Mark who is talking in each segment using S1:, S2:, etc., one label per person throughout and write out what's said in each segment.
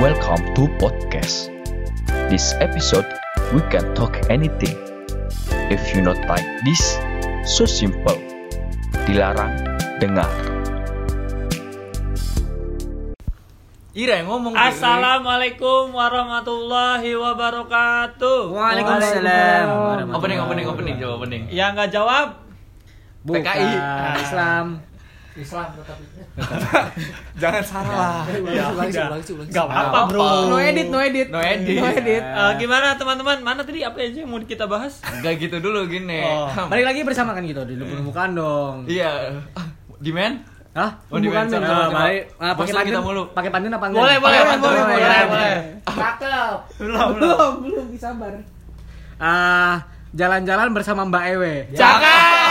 S1: Welcome to podcast. This episode we can talk anything. If you not like this, so simple. Dilarang dengar.
S2: Ira yang ngomong Ki.
S3: Assalamualaikum warahmatullahi wabarakatuh.
S4: Waalaikumsalam.
S2: Opening opening opening coba opening.
S3: Yang Ya, nggak jawab,
S4: Bukan
S2: PKI.
S4: Islam.
S2: Jangan salah.
S3: ya udah. Nggak apa-apa
S2: Nggak
S3: bro.
S2: apa-apa.
S4: No edit, no edit.
S2: No edit.
S4: No edit.
S3: Eh, gimana teman-teman? Mana tadi apa aja yang mau kita bahas?
S2: Enggak gitu dulu gini.
S3: Oh.
S4: Balik lagi bersama kan gitu, dulu pembukaan dong.
S2: Iya. Ah, Di men?
S4: Hah?
S2: Oh, di
S4: Pembukaan
S2: mention,
S4: dong.
S2: coba,
S4: Ah,
S2: coba.
S4: balik. Ah, pakai
S2: Bosan
S4: pantun.
S2: kita mulu.
S4: Pakai pantun apa enggak?
S3: Boleh, boleh,
S4: Pakai
S3: pantun,
S4: pantun,
S3: boleh,
S4: boleh,
S3: boleh.
S4: Cakep.
S3: Belum,
S4: Belum, belum disabar. Ah, jalan-jalan bersama Mbak Ewe.
S3: Cakep.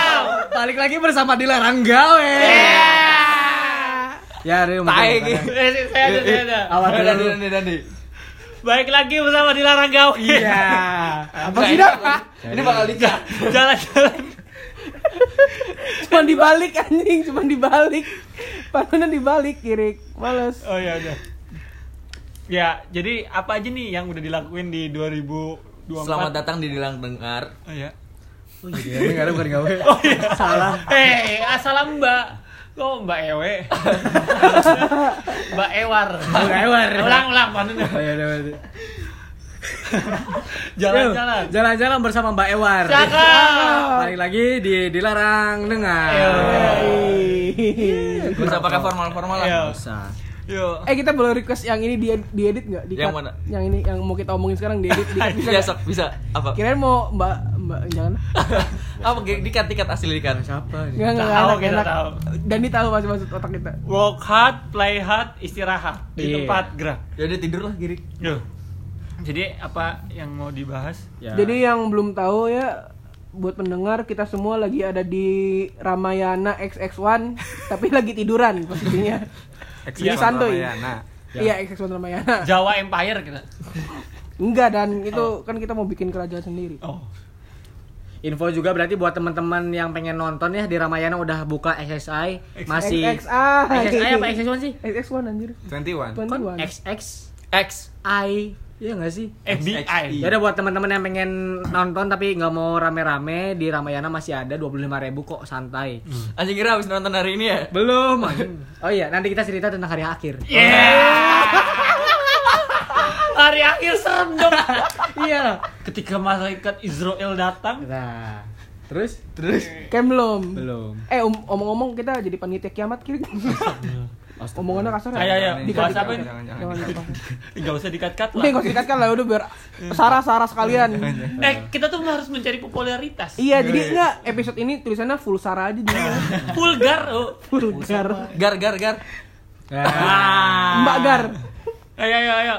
S4: Balik lagi bersama Dilarang Gawe. Ya, Rio.
S2: Tai,
S4: makasih,
S2: gitu.
S4: makasih.
S3: Eh, Saya ada, saya ada.
S4: Awal
S2: Eh,
S4: dulu.
S2: Dandi Dandi Dandi.
S3: Baik lagi bersama Dilarang Gawe.
S4: Iya. Apa
S2: Nah,
S4: sih,
S2: ini-
S4: Dak?
S2: Ini bakal dikat.
S3: Jalan-jalan.
S5: cuman dibalik anjing cuman dibalik panahnya dibalik kiri males
S3: Oh ya udah. Ya, jadi apa aja nih yang udah dilakuin di 2024?
S2: Selamat datang di Dilang Dengar.
S3: Oh ya.
S4: iya, Ini enggak ada bukan gawe. Salah.
S3: Eh, assalam Mbak. Kok Mbak Ewe? Mbak Ewar.
S4: Mbak Ewar.
S3: Ulang, ulang, pantun.
S4: Oh, ya, udah, udah.
S3: Jalan-jalan.
S4: Yuk, Jalan-jalan bersama Mbak Ewar.
S3: Cakep.
S4: Balik lagi di dilarang dengar.
S5: eh
S2: Gak usah pakai formal-formal
S3: Iya.
S2: lah.
S4: Usah.
S3: Yo.
S5: kita boleh request yang ini di diedit nggak di
S2: Yang mana?
S5: yang ini yang mau kita omongin sekarang diedit di bisa
S2: Bisa ya,
S5: nggak?
S2: bisa apa?
S5: kirain mau mbak mbak jangan
S2: Apa dikat dikat asli dikat.
S4: Siapa nih?
S5: nggak nggak
S3: Tahu,
S5: enak
S3: kita
S5: enak
S3: tahu.
S5: Dani tahu maksud maksud otak kita
S3: Work hard, play hard, istirahat di
S4: Iya.
S3: tempat gerak.
S2: Ya udah tidur lah girik.
S3: Yo. Jadi apa yang mau dibahas?
S4: Ya.
S5: jadi yang belum tahu ya buat pendengar kita semua lagi ada di Ramayana XX1 tapi lagi tiduran posisinya
S2: Iya,
S5: santuy.
S2: Ramayana.
S5: iya XX1 Ramayana
S3: Jawa Empire kita.
S5: Enggak dan itu kan kita mau bikin kerajaan sendiri.
S3: Oh.
S4: Info juga berarti buat teman-teman yang pengen nonton ya di Ramayana udah buka SSI masih
S5: XXI.
S4: SSI apa XXI sih?
S5: XX1 anjir.
S2: 21.
S4: Kon
S5: 21.
S4: XXI
S2: X.
S4: ya nggak sih?
S3: FBI.
S4: Ya udah buat teman-teman yang pengen nonton tapi nggak mau rame-rame di Ramayana masih ada 25.000 kok santai.
S6: Hmm.
S2: Anjing kira habis nonton hari ini ya.
S4: Belum. anjing. Oh iya, nanti kita cerita tentang hari akhir.
S3: Hari akhir serem dong.
S4: iya.
S3: Ketika malaikat Israel datang,
S4: Nah, terus?
S5: Kan belum.
S4: Belum.
S5: Eh om- omong-omong kita jadi panitia kiamat kiri. Omongannya kasar
S3: Ayo, ayo,
S5: Dikat-
S3: bahas apa ini?
S5: Jangan, jangan, jangan.
S3: nggak usah dikat-kat
S5: Udah
S3: lah.
S5: enggak usah dikatkan lah udah biar sarah-sarah sekalian.
S3: Eh, kita tuh harus mencari popularitas.
S5: Iya, jadi enggak episode ini tulisannya full sarah aja dulu.
S3: Vulgar. Oh.
S5: Vulgar.
S2: Gar gar gar.
S4: Nah,
S5: Mbak Gar.
S3: Ayo, ayo, ayo.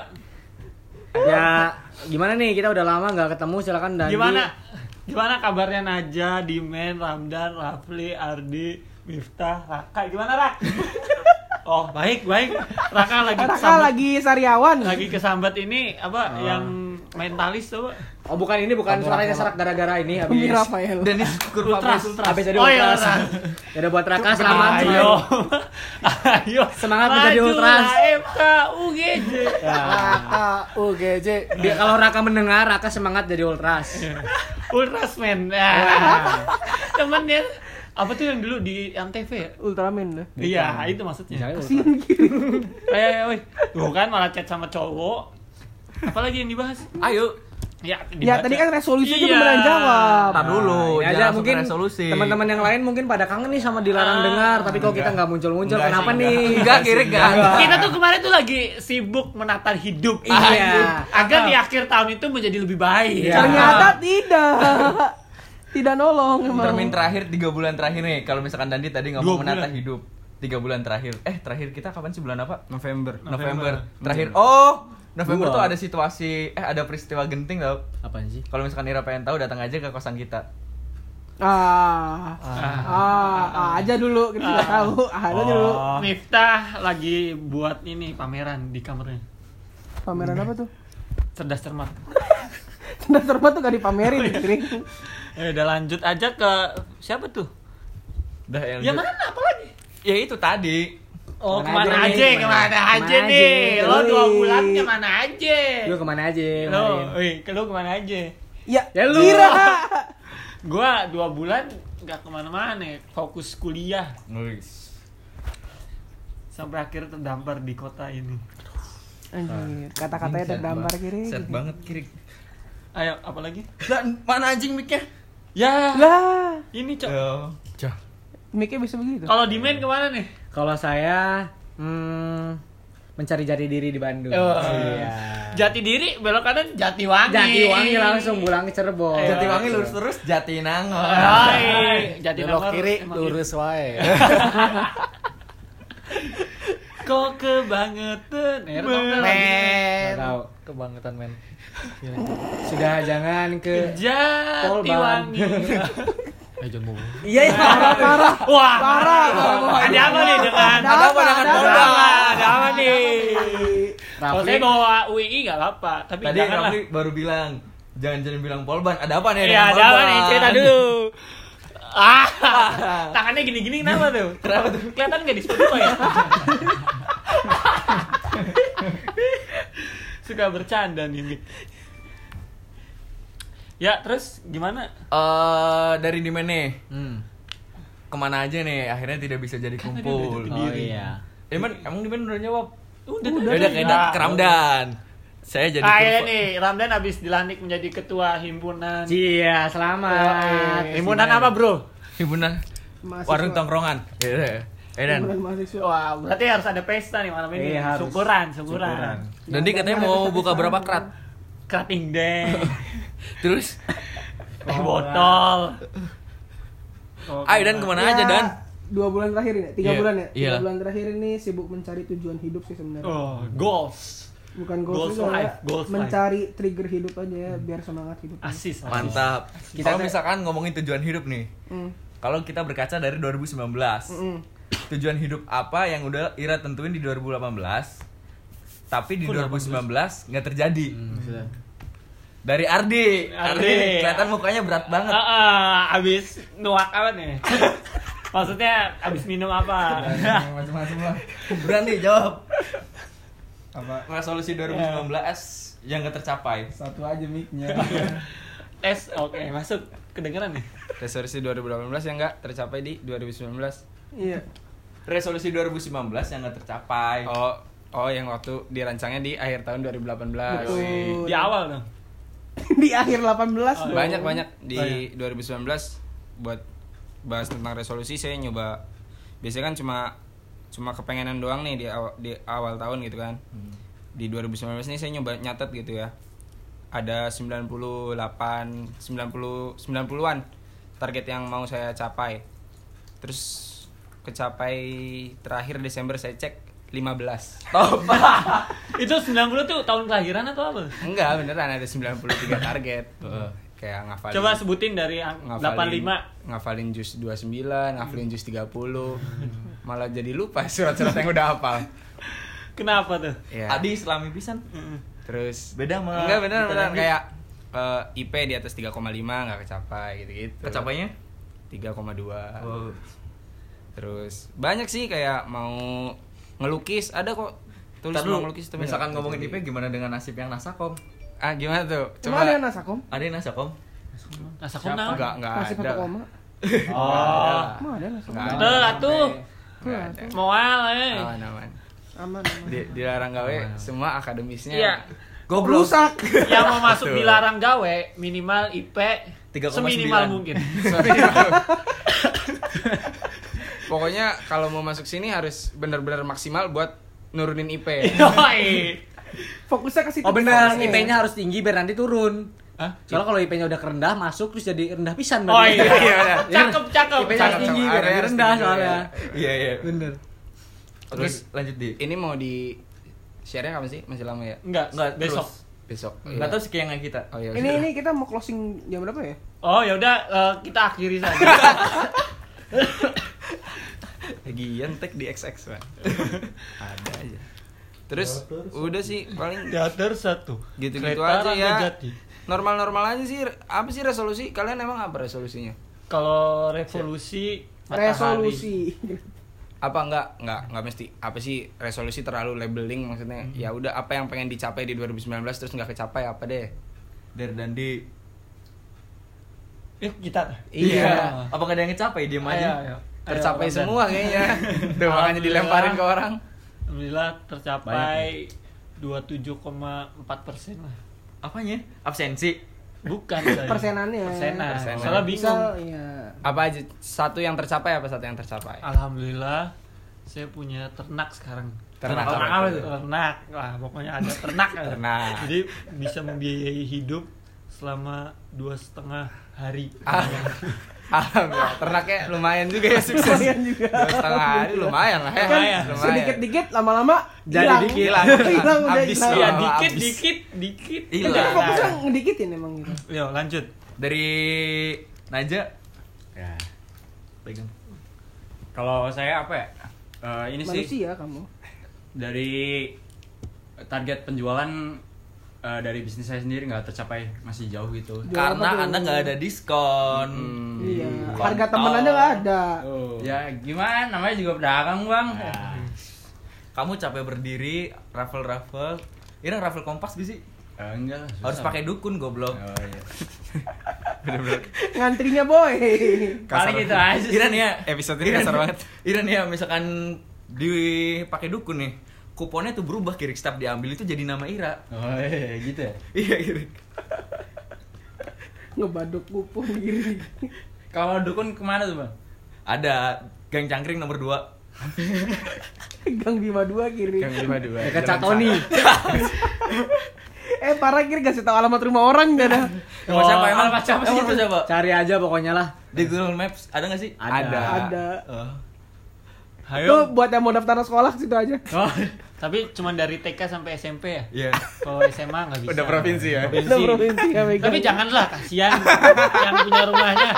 S4: ya gimana nih kita udah lama nggak ketemu silakan Dandi.
S3: Gimana? Gimana kabarnya Naja, Dimen, Ramdan, Rafli, Ardi, Miftah, Raka? Gimana Rak? oh baik baik. Raka lagi
S5: Raka
S3: kesambet-
S5: lagi Ah. sariawan.
S3: lagi kesambat ini apa yang mentalis tuh? Pak?
S4: Oh bukan ini bukan suaranya serak gara-gara ini habis.
S5: Umi Rafael.
S2: Denis kurva
S3: Ultras,
S2: plus.
S3: ultras.
S4: Habis jadi
S3: Oh, iya,
S4: ultras.
S3: Rak.
S4: Ya udah buat Raka selamat.
S3: Ayo, ayo
S4: Semangat menjadi
S3: Majulah,
S4: ultras.
S3: FKUGJ.
S5: Ya. Raka UGJ.
S4: Dia kalau Raka mendengar Raka semangat jadi ultras.
S3: Ultras men. Ah. Temennya apa tuh yang dulu di Antv ya?
S5: Ultraman lah.
S3: Iya, itu maksudnya.
S4: Kasihan.
S3: Ayo, ayo, ayo. eh, Tuh kan malah chat sama cowok. Apalagi yang dibahas?
S2: Ayo.
S3: Ya,
S5: Ah. Ya
S3: dibaca.
S5: tadi kan resolusi
S3: Iya.
S5: juga pernah jawab.
S2: Ntar dulu,
S4: Ini
S2: jangan
S4: Nah, ya aja
S2: langsung
S4: mungkin
S2: resolusi.
S4: teman-teman yang lain mungkin pada kangen nih sama dilarang
S3: Ah,
S4: dengar, tapi kok kita nggak muncul-muncul,
S2: Enggak
S4: kenapa
S2: sih,
S4: nih?
S2: Enggak kiri enggak.
S3: Kita tuh kemarin tuh lagi sibuk menata hidup
S4: Iya.
S3: agar di akhir tahun itu menjadi lebih baik.
S4: Iya.
S5: Ah. Ternyata tidak. tidak nolong emang.
S2: Termin terakhir 3 bulan terakhir nih. Kalau misalkan Dandi tadi
S3: Dua
S2: ngomong menata
S3: bulan.
S2: hidup. 3 bulan terakhir. Eh, terakhir kita kapan sih bulan apa?
S7: November.
S2: November. Terakhir. Oh, November
S4: Dua.
S2: tuh ada situasi eh ada peristiwa genting tau.
S4: Apaan sih?
S2: Kalau misalkan Ira pengen tahu datang aja ke kosan kita.
S5: Ah. Ah. ah, aja dulu kita nggak tahu. Ah, aja dulu.
S3: Oh. Miftah lagi buat ini pameran di kamarnya.
S5: Pameran apa tuh?
S3: Cerdas cermat.
S5: Tanda terma tuh gak dipamerin, kering.
S3: Eh, udah lanjut aja ke siapa tuh?
S2: Dah yang
S3: Ya mana apalagi?
S2: Ya itu Ya, tadi.
S3: Oh
S4: Kemana
S3: kemana,
S4: aja
S3: aja,
S4: nih,
S3: kemana,
S4: kemana?
S3: aja
S4: Kemana
S3: nih?
S4: aja?
S3: Lo dua
S5: Wih.
S3: bulan kemana aja?
S4: Lu kemana aja
S3: Lo,
S4: kemarin?
S3: wih, ke lo kemana aja?
S5: Ya,
S4: Ya lu.
S5: Kira.
S3: Gua dua bulan nggak kemana-mana, fokus kuliah
S2: Nulis.
S3: sampai akhir terdampar di kota ini.
S5: Anjir, kata-katanya terdampar kiri.
S2: Set banget kiri.
S3: Ayo, apalagi?
S2: Dan mana anjing mic-nya?
S3: Ya,
S5: Lah,
S3: ini cok.
S2: Yo. Cah.
S5: mic bisa begitu.
S3: Kalau di main kemana nih?
S4: Kalau saya hmm, mencari jati diri di Bandung.
S3: Oh.
S4: Iya.
S3: Jati diri, belok kanan Jatiwangi.
S4: Jati wangi langsung pulang ke Cirebon.
S3: Iya.
S2: Jatiwangi lurus terus Jatinangor.
S3: Hai, Jati
S7: Belok kiri
S3: iya.
S7: lurus wae.
S3: Kok kebangetan? Eh, tau nggak lagi?
S7: Men.
S4: Nggak tahu.
S7: Kebangetan men.
S4: Sudah jangan ke
S3: Jatiwangi.
S7: Eh jangan bobo.
S4: Iya iya.
S3: Wah,
S5: Parah, parah.
S3: ada apa nih dengan
S5: Ada apa dengan
S3: kan. ada
S5: Polda?
S3: apa? Ada apa nih? Kalau saya
S4: Rafli
S3: bawa UII nggak apa-apa, tapi
S2: Tadi
S3: janganlah.
S2: Rafli baru bilang jangan jangan bilang Polban. Ada apa nih?
S3: Iya,
S2: dengan
S3: ada apa nih?
S2: Polban?
S3: Cerita dulu. Ah, tangannya gini-gini kenapa tuh? Kenapa tuh? Kelihatan nggak di Spotify ya? Suka bercanda nih. Ya, terus gimana?
S6: eh dari di mana nih?
S2: Hmm.
S6: Kemana aja nih? Akhirnya tidak bisa jadi kumpul.
S4: Oh iya.
S6: Emang emang di mana udah jawab?
S3: Udah,
S6: Udah udah kayak
S3: Nah,
S6: dat- keramdan. Saya jadi
S3: Ah, iya
S6: kumpul-
S3: nih, Ramdan habis dilantik menjadi ketua himpunan.
S4: Iya, selamat.
S7: Iya.
S3: Himpunan apa, Bro?
S6: himpunan
S5: Mahasiswa.
S6: warung tongkrongan. Iya, Iya. Eh, dan
S5: Kumpulan mahasiswa.
S3: Wah, berarti harus ada pesta nih malam ini.
S4: Iya, harus.
S3: syukuran, syukuran.
S4: Syukuran.
S6: dan dia katanya mau buka berapa krat?
S3: Kerating deh. Eh,
S6: Terus,
S3: Teh botol. Oh,
S6: ayo dan kemana
S5: Iya.
S6: aja dan?
S5: Ya, dua bulan terakhir ini, tiga
S6: Iya,
S5: bulan ya, tiga
S6: iyalah.
S5: bulan terakhir ini sibuk mencari tujuan hidup sih sebenarnya,
S3: Oh, goals.
S5: bukan goals
S3: Goals
S5: juga,
S3: life,
S5: ya.
S3: goals life.
S5: mencari trigger hidup aja ya, biar semangat hidup.
S3: Asis. asis.
S6: Mantap. Kalau misalkan ngomongin tujuan hidup nih,
S5: Mm.
S6: kalau kita berkaca dari 2019,
S5: Mm-mm.
S6: tujuan hidup apa yang udah Ira tentuin di 2018, tapi di 2019 nggak terjadi. Dari Ardi.
S3: Hmm. Ardi.
S6: Ardi kelihatan mukanya berat banget.
S3: Ah, ah, abis nuak apa nih? Maksudnya abis minum apa?
S7: Macam-macam lah.
S6: Berani jawab.
S7: Apa
S6: Resolusi 2019 yang nggak tercapai.
S7: satu aja mic-nya.
S3: Tes, oke, masuk. Kedengeran nih.
S7: Resolusi 2018 yang enggak tercapai di 2019.
S5: Iya,
S6: Resolusi 2019 yang nggak tercapai.
S7: Oh, oh yang waktu dirancangnya di akhir tahun 2018.
S5: betul.
S3: Di awal dong.
S5: Di akhir 18 dong.
S7: banyak banyak di 2019 buat bahas tentang resolusi saya nyoba biasanya kan cuma cuma kepengenan doang nih di awal, di awal tahun gitu kan di 2019 ini saya nyoba nyatet gitu ya ada 98 90 90-an target yang mau saya capai terus kecapai terakhir Desember saya cek 15
S3: Itu 90 tuh tahun kelahiran atau apa?
S7: enggak beneran ada 93 target kayak ngafalin
S3: Coba sebutin dari ang-
S7: ngafalin
S3: 85
S7: ngafalin jus 29, ngafalin jus 30. Malah jadi lupa surat-surat yang udah hafal.
S3: Kenapa tuh?
S7: Ya.
S6: Adi islami pisan.
S7: Terus
S6: Beda sama
S7: enggak bener
S6: kita
S7: bener
S6: lagi.
S7: kayak eh, IP di atas 3,5 nggak kecapai gitu-gitu.
S6: Tercapainya?
S7: 3,2.
S6: Oh.
S7: Oh, Terus banyak sih kayak mau ngelukis, ada kok tulis
S6: Ntar dulu,
S7: mau ngelukis tapi
S6: misalkan
S7: nggak
S6: ngomongin
S7: terjadi.
S6: IP gimana dengan nasib yang nasakom?
S7: Ah, gimana tuh?
S5: Cuma ada yang nasakom,
S6: Ada yang nasakom?
S3: Nasa
S7: enggak enggak
S5: masih
S7: ada.
S5: satu koma,
S3: Oh.
S5: mah ada nasakom,
S7: Nggak ada.
S3: Tuh, tuh.
S7: Nggak ada.
S3: Moal, eh.
S7: Aman, aman.
S5: aman aman.
S7: Di, dilarang gawe semua akademisnya.
S3: Iya.
S6: Goblok.
S3: Yang mau masuk
S6: Betul.
S3: dilarang gawe minimal IP
S6: 3,9.
S3: seminimal mungkin.
S7: Sorry. Pokoknya kalau mau masuk sini harus benar-benar maksimal buat nurunin IP.
S3: Yoi.
S5: Fokusnya ke situ.
S4: Oh benar,
S5: fokusnya.
S4: IP-nya harus tinggi biar nanti turun.
S6: Hah?
S4: Soalnya kalau IP-nya udah rendah masuk terus jadi rendah pisan
S3: Oh
S4: berarti.
S3: iya.
S7: iya.
S3: Cakep, cakep.
S4: IP-nya harus
S7: Cakep,
S4: tinggi
S7: cakep.
S4: biar nanti
S7: Area harus
S4: rendah
S7: tinggi,
S4: soalnya.
S6: Iya iya.
S4: Bener.
S6: Terus lanjut di.
S7: Ini mau di share-nya kapan sih? Masih lama ya?
S3: Enggak,
S6: Nggak,
S3: besok.
S6: terus.
S7: Besok. iya.
S6: Enggak tahu sekian kita.
S7: Oh iya.
S5: Ini
S7: sudah.
S5: ini kita mau closing jam berapa ya?
S3: Oh, ya udah eh, kita akhiri saja.
S7: Lagian tag di XX, Pak. Ada aja. Terus udah sih paling
S3: Teater Ya, satu.
S7: gitu-gitu aja ya. Normal-normal aja sih. Apa sih resolusi? Kalian emang apa resolusinya?
S3: Kalau revolusi matahari.
S5: Resolusi.
S7: apa enggak enggak enggak mesti apa sih resolusi terlalu labeling maksudnya ya udah apa yang pengen dicapai di 2019 terus nggak kecapai apa deh
S6: Dari Dandi.
S3: Yuk Eh, kita.
S6: Iya. Apa nggak ada yang ngecapai dia
S3: Ayo,
S5: Iya,
S6: aja?
S3: ayo.
S7: tercapai
S3: Ramdan.
S7: semua kayaknya Tuh, makanya dilemparin ke orang
S3: Alhamdulillah tercapai 27,4 persen lah.
S6: Apanya? Absensi.
S3: Bukan saya.
S5: Persenannya.
S3: Persenan.
S7: Persenan.
S3: Soalnya bingung.
S5: Misal, iya.
S7: apa aja satu yang tercapai apa satu yang tercapai
S3: Alhamdulillah saya punya ternak sekarang.
S7: Ternak.
S3: ternak
S7: Ternak
S3: apa
S7: apa
S3: itu?
S7: tuh?
S3: Ternak. Lah, pokoknya ada ternak. ada.
S7: Ternak.
S3: Jadi bisa membiayai hidup selama dua setengah hari.
S7: Ah. Alhamdulillah, ternaknya lumayan juga ya sukses.
S5: Lumayan juga.
S7: Dua setengah hari lumayan lah
S6: Eh,
S5: Iya.
S7: ya.
S6: ah,
S5: Kan
S6: iya.
S7: Lumayan.
S5: sedikit-dikit lama-lama
S7: Jadi
S5: hilang.
S7: dikit, hilang.
S5: Hilang, udah
S7: Habis
S5: hilang.
S7: ya.
S3: Iya, dikit,
S7: habis.
S3: dikit, dikit.
S6: Iya.
S5: Jadi fokusnya
S3: Nah,
S5: ngedikitin emang gitu.
S3: Yo, lanjut.
S6: Dari Naja. Ya. Pegang.
S8: Kalau saya apa ya? Eh, ini sih
S5: Manusia kamu.
S8: dari target penjualan eh, dari bisnis saya sendiri nggak tercapai masih jauh gitu.
S5: Jual
S6: Karena
S5: apa tuh?
S6: anda nggak ada diskon. Hmm.
S5: Iya. Harga temen aja nggak ada.
S8: Ya gimana namanya juga pedagang bang.
S5: Nah.
S6: Kamu capek berdiri, raffle raffle. Ini raffle kompas gak sih?
S8: Eh, enggak lah, susah.
S6: Harus pakai dukun goblok.
S8: Oh, iya.
S5: Ngantrinya boy.
S8: Paling itu aja. sih.
S6: Iran ya
S7: Episode ini kasar banget.
S6: Iran ya misalkan dipakai dukun nih kuponnya tuh berubah kirik setiap diambil itu jadi nama Ira
S8: Oh iya gitu ya.
S6: iya kirik
S5: Ngebaduk kupon diri.
S8: Kalau dukun kemana tuh bang?
S6: ada gang cangkring nomor 2
S5: Gang Bima 2 kiri.
S4: Dekat Catoni.
S5: Eh parah kiri kasih tahu alamat rumah orang gak ada.
S3: Oh,
S6: nomor siapa emang
S8: alamat siapa sih?
S6: Emang nomor siapa
S4: Cari aja pokoknya lah.
S6: di Google Maps ada nggak sih
S7: Ada.
S5: Ada.
S6: Oh.
S5: Tuh buat yang mau daftar sekolah situ aja.
S8: Oh.
S3: Tapi cuma dari TK sampai SMP ya?
S6: Iya.
S3: Kalau SMA nggak bisa.
S7: Udah provinsi ya.
S5: Udah provinsi nggak megang.
S3: Tapi janganlah kasihan yang punya rumahnya